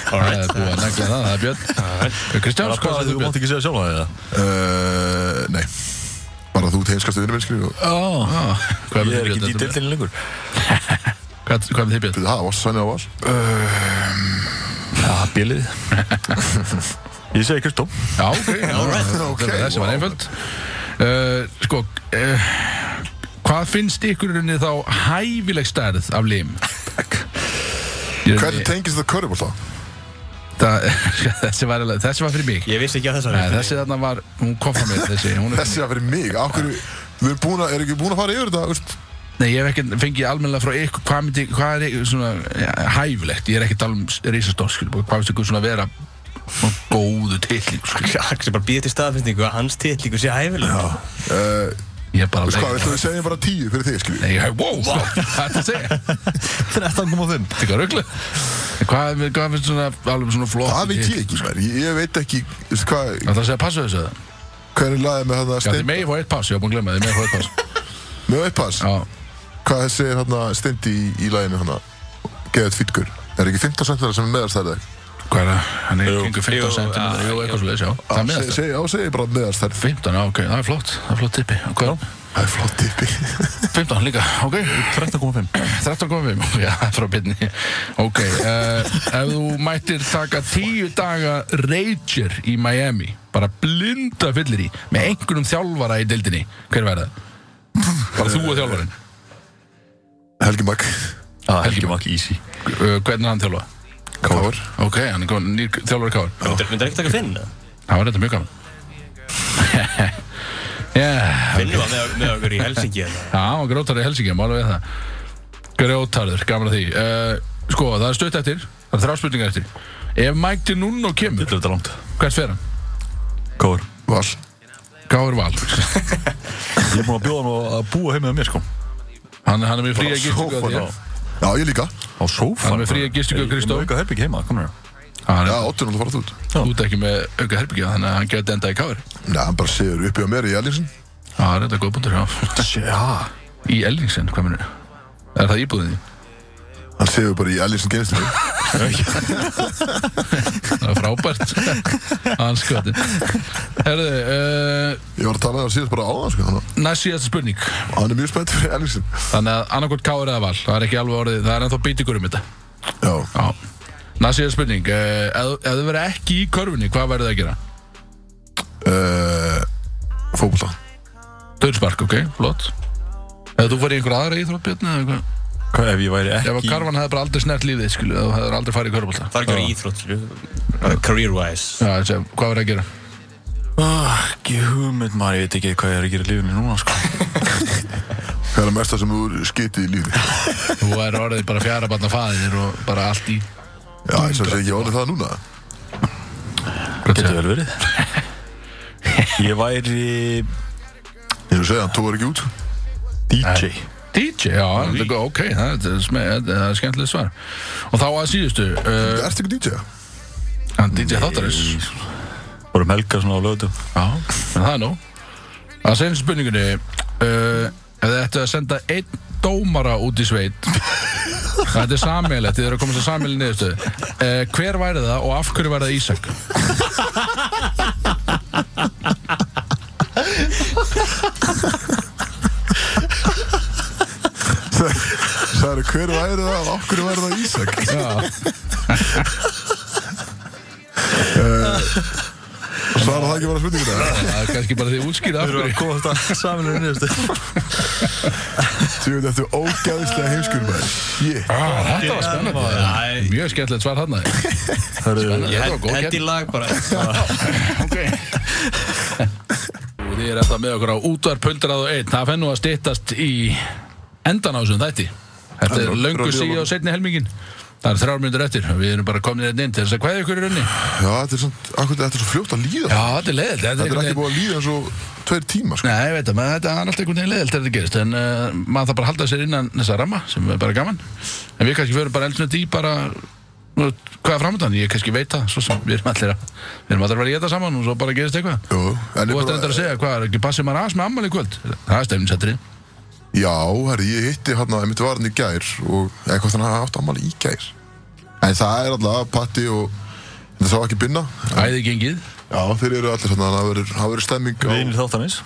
Það er búið að negla það, það er Björn Eh, Kristjáns, hvað er
Þú
þú Björn?
mátt ekki segja sjálf að
uh, Nei Bara þú teginskastu vinnum einskri og
það
Ah, Hvað er
Ég
þið
er ekki í
Björn?
dildinni lengur
Hvað hvað er þið Björn?
Byrðu, það var sannir á val
Já, bílið Ég segi Kristó
Já, ok, já,
ok,
það var- þessi var
wow.
einföld Uh, Sko, uh, hvað finnst ykkur í rauninni þá hæfileg stærð af lim? Í rauninni-
Hvernig tengist þetta körf alltaf?
Það, þessi, var, alveg- þessi var fyrir mig
Ég vissi ekki að þessari
Nei, þessi þarna var, hún kom frá mér þessi, hún er,
Þessi að fyrir mig Af hverju Við erum búin að Erum ekki búin að fara yfir þetta Úrst
Nei, ég hef ekki fengið almennilega frá ykkur Hvað, myndi, hvað er svona ja, hæfilegt Ég er ekki að tala um risastór skilur, bara Hvað finnst ykkur svona vera svona góðu tilling skilur?
Axel bara býði til staðfinningu að hans titlingu sé hæfileg
uh,
Ég er
Þú
bara
veist hvað,
leik-
viltu að við segjum bara tíu fyrir þig, skilju?
Nei, ég hef, wow, wow, hvað er þetta að segja?
13.5
Þetta er hvað rugglu Hvað hvað finnst svona, alveg svona flott
Það veit ég ekki, smær. Ég, ég veit ekki, þú veist hvað,
Það er að segja passu þessu eða?
hvernig laðið með þarna
Já, þið
stein...
megi fá eitt pass, ég var búin að glemma þið megi fá eitt pass
Með upppass?
Já,
Hvað segir þarna steindi í, í læginu þarna? Geðið fýtgur. Er ekki 15 cm sem er meðarstærðið?
hvað er það? Hann er í kringu 15
Jú,
cm,
já,
jú, eitthvað svo leiðis, já Það er meðast
Já, segir bara meðarstærð.
15, já, ok, það er flott, það er flott tippi Og Hvað er hann?
Það er flott tippi.
15 líka, ok
13.5
13.5, já, það er frá byrni Ok, uh, ef þú mættir taka 10 daga Rager í Miami Bara blinda fyllir í Með einhverjum þjálfara í dildinni Hver væri það? Bara þú og þjálfarin
Helgi Magg.
Það er ekki makk Ah, easy
uh, Hvernig er hann þjálfa?
Káur.
Ok, hann er komin, nýr þjálfari káður
Myndir myndir ekki taka Finn? eða?
Það var þetta mjög gaman Já,
Finn var með, með okkur í hérna. Helsingi eða?
það var grótarður í Helsingi, mála við það Grótarður, gaman að því uh, Sko, það er stutt eftir, það er þrjá spurningar eftir Ef Mike Dinunno kemur,
Þetta er þetta langt
hvert fer hann?
Kóður
Val.
Gáður Val
Ég er búinn að bjóða hann að búa heim með mér sko
Hann, hann er með fría
Bara
gistingu að
sófan
þér
á-
Já, ég líka.
Á sófan
Hann er með fría
bara.
gistingu á
Ég-
Kristó.
Ég er með auka herbygg heima, komur hér
Hann
Já,
er
Ottun er að fara út.
út ekki með auka herbyggja Þannig að hann geti endað í káður
Nei, hann bara segir uppi á mér í Ellingsen.
Já, það er þetta góð búndur
Já
Í Ellingsen, hvað minnur Er það íbúðin þín?
Hann segir bara í Ellingsen geðstunni.
Það er frábært Hann skotin Herðu, uh,
Ég var að tala um það síðast bara áðan, sko. þannig
næst síðast spurning
að Hann er mjög spennt fyrir Ellingsen.
Þannig að annarkvort káður eða val Það er ekki alveg orðið, það er ennþá bítigur um þetta
Já.
Já Næst síðast spurning uh, Ef ef þið verið ekki í körfunni, hvað verður það að gera?
Uh, Fókbalta.
Döðspark, ok, flott Ef þú farið í einhver aðra íþróttbjörn eða eitthvað
Hvað ef ég væri
Ef að
ekki
karvan hefði bara aldrei snert lífið, skilu, þú hefði aldrei farið í körbólta.
Það er ekki verið uh, íþrótt, skilju Career wise
Já, þessi, hvað verður að gera?
Ah, Ekki hugmynd maður, ég veit ekki hvað ég er að gera í lífinu núna sko
Það er að mesta sem þú skitið í lífi.
Þú er orðið bara fjara barna faðir og bara allt í...
Já, ég sem sé ekki orðið það núna.
Getur vel verið Ég væri
Ég vil segja, hann tóður ekki út.
DJ
DJ, já, þetta er góð, ok, það er- það er, sme- það er skemmtilegt svar. Og þá að síðustu, uh,
Ertu ykkur DJ?
hann DJ Þáttarins,
Vorum helga svona á lögutum
já, en það er nú. Að segja spurningunni, uh, ef þið ættu að senda einn dómara út í sveit, þetta er sammeilegt, þið eru að komast að sammeilin niðurstöðu. Uh, hver væri það og af hverju væri það Ísak?
Það eru hver væri það og okkur væri það Ísak
Já.
og svara það ekki bara spurninguna
Það er kannski bara því að útskýra af
Við erum
hverju.
að komast að saminu nýðustu
Þú veit eftir ógæðislega heimskur maður Shit
Ah, þetta var
Já,
spennandi
ég-
Mjög skemmtilegt svar hann
Herru,
Ég
Þetta var
held-
góð
hendi
keppni.
í lag bara
okay. Þið er þetta með okkur á útvar pöldrað og einn Það fenn nú að styttast í endan á þessum þætti Þetta er
Heldur,
löngu
röddíu
síða
bara.
og setni helmingin Það er þrjár minnur eftir Við erum bara komin einn inn til þess að hvaðið ykkur er unni Já,
Já, þetta er svona, akkur þetta er svo fljótt að líða
þetta er leiðilt
Þetta er
einhvern
ekki
veginn-
búið að líða eins og tveir tíma sko.
Nei, ég veit að maður- þetta er alltaf einhvern veginn leiðilt þegar þetta gerist En uh, maður þarf bara að halda sér innan þessa ramma sem er bara gaman En við kannski förum bara eldsnönd í bara nú, Hvað er framöndan? Ég kannski veit það Svo sem við erum allir að Við erum allir að vera í þetta saman og svo bara gerist eitthvað
Jú, en
Þú
ég
ert endur að
bara
segja hvað er ekki passið maður aðs með ammali í kvöld Það er stefninsættri
Já, herri, ég hitti hann að mitt varðin í gær og eitthvað þannig að hann átt ammali í gær En það er alltaf patti og þetta sá ekki binna
Æði gengið,
Já, þeir eru allir svona, það verður- það verður stemming á
vinir þáttanins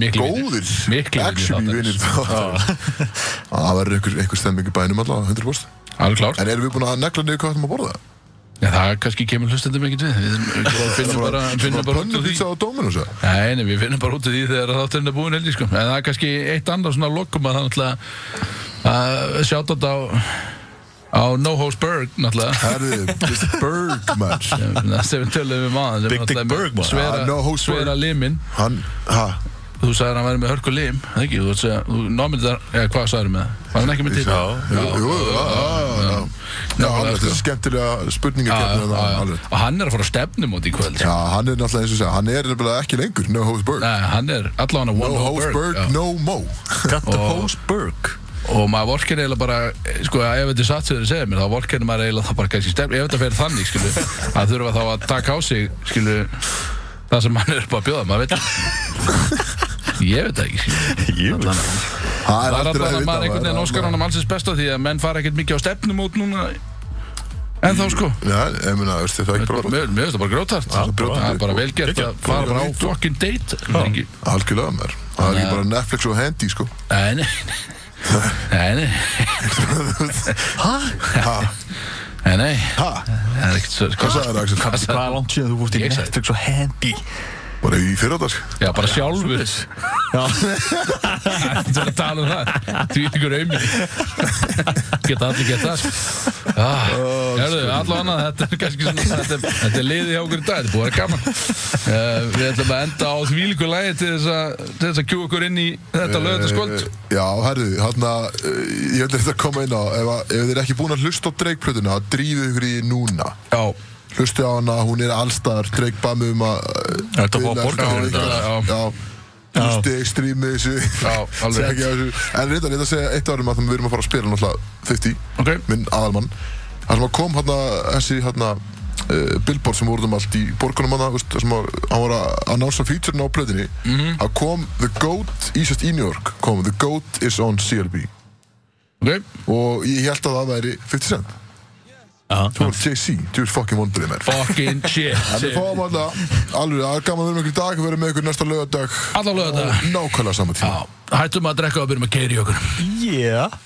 miklu
góðir
Miklu
Actually vinir þáttarins. Það verður einhver- einhver stemming í bænum alltaf, 100%
Alveg klár,
En erum við búin að negla niður hvað ætlum að borða?
ja, það kannski kemur hlustendum ekkert við Við erum- við finnum bara, finnum bara út úr því
Pönnupizza á Dominos, eða?
Nei, nei, við finnum bara út úr því þegar þátturinn er búin heldur sko. En það er kannski eitt annað svona lokum að það náttúrulega að sjáta þetta á á No Host Berg náttúrulega
Herði, Mr. Bergman
sem sem við töluðum um aðan
Big Dick Berg,
Ah,
maður.
No
svera,
Host Berg.
svera limin
Hann, ha,
þú sagðir að hann væri með hörku lim, eða ekki? Þú sagði, þú námið þar, eða hvað sagðir með það? Var hann ekki með til?
Jú, jú, já, já, já. Já, alveg, þetta er skemmtilega spurningar kemur þetta, Hérna alveg.
Og hann er að fara að stefnum út í kvöld.
Já, hann er náttúrulega eins og segja, hann er nefnilega ekki lengur, no host bird.
Nei, hann er allavega one
No host bird,
já.
no mo.
Got the post burg
og maður vorkenir eiginlega bara sko, ef þetta er satt sem þeir segja mér þá vorkenir maður eiginlega það bara kannski stefn ef þetta fer þannig skilu að þurfa þá að taka á sig skilu það sem mann er upp að bjóða maður veit það. ég veit það ekki skilu
Jú
Það
það er
aldrei
alltaf
að vita,
að maður einhvern
maður-
veginn óskar hann um allsins besta því að menn fara ekkert mikið á stefnum út núna en þá sko
Já, ég meina, veistu, það er ekki
Mér
bróðbútt.
mér finnst það bara grótart
Já, brjótart.
Það er bara vel gert að fara bara á fucking date Það er ekki-
Algjörlega maður. Það er ekki
Þannig að-
bara Netflix og Handy, sko.
Nei, nei Nei, nei
Ha,
Nei, nei
ha,
Það er ekkert svo
hvað sagði það, Axel?
Hvað
Hvað er langt síðan þú fórst í
Ég sagði-
Netflix og Handy?
Bara í fyrradag.
Já, bara sjálfur Þetta er að tala um það Því ykkur auðvitað Geta allir geta það sko. ah, Hérðu,
sko.
allavega annað Þetta er kannski svona Þetta er, þetta er liðið hjá okkur í dag Þetta er búið að vera gaman uh, Við ætlum að enda á því líku lægi til þess að til þess að kjú okkur inn í þetta lögðarskvöld
Eh, Já, herðu, hann að, ég held að þetta koma inn á, ef, að, ef þið er ekki búin að hlusta á dreikplötuna, þá drífið ykkur í núna.
Já,
Hlustu á hana, hún er allstaðar, dreikbamið um að...
Þetta var að borga
Já,
fyrir
þetta.
já, Já, hlustu, streamið þessu.
Já, alveg
Segja ekki af þessu. En reyndan, ég ætla að segja eitt árum að það við erum að fara að spila náttúrulega 50,
ok
minn aðalmann. Það sem að kom hann að, þessi hann að, Uh, billboard sem voruðum allt í borgunum hann þar sem að, hann var að annánsa featurein á plötinni mm -hmm. að kom The Goat í sérst í New York kom The Goat is on CLB
Ok,
og ég held að það væri 50 cent
Já
þú var JC, þú er fucking vondrið mér
fucking
en við
shit
fáum alltaf alveg að gaman að vera með ykkur í dag við erum með ykkur næsta lögadag
Alla lögða
nákvæmlega saman tíma
Já, hættum að drekka og byrjum að keiri okkur
Yeah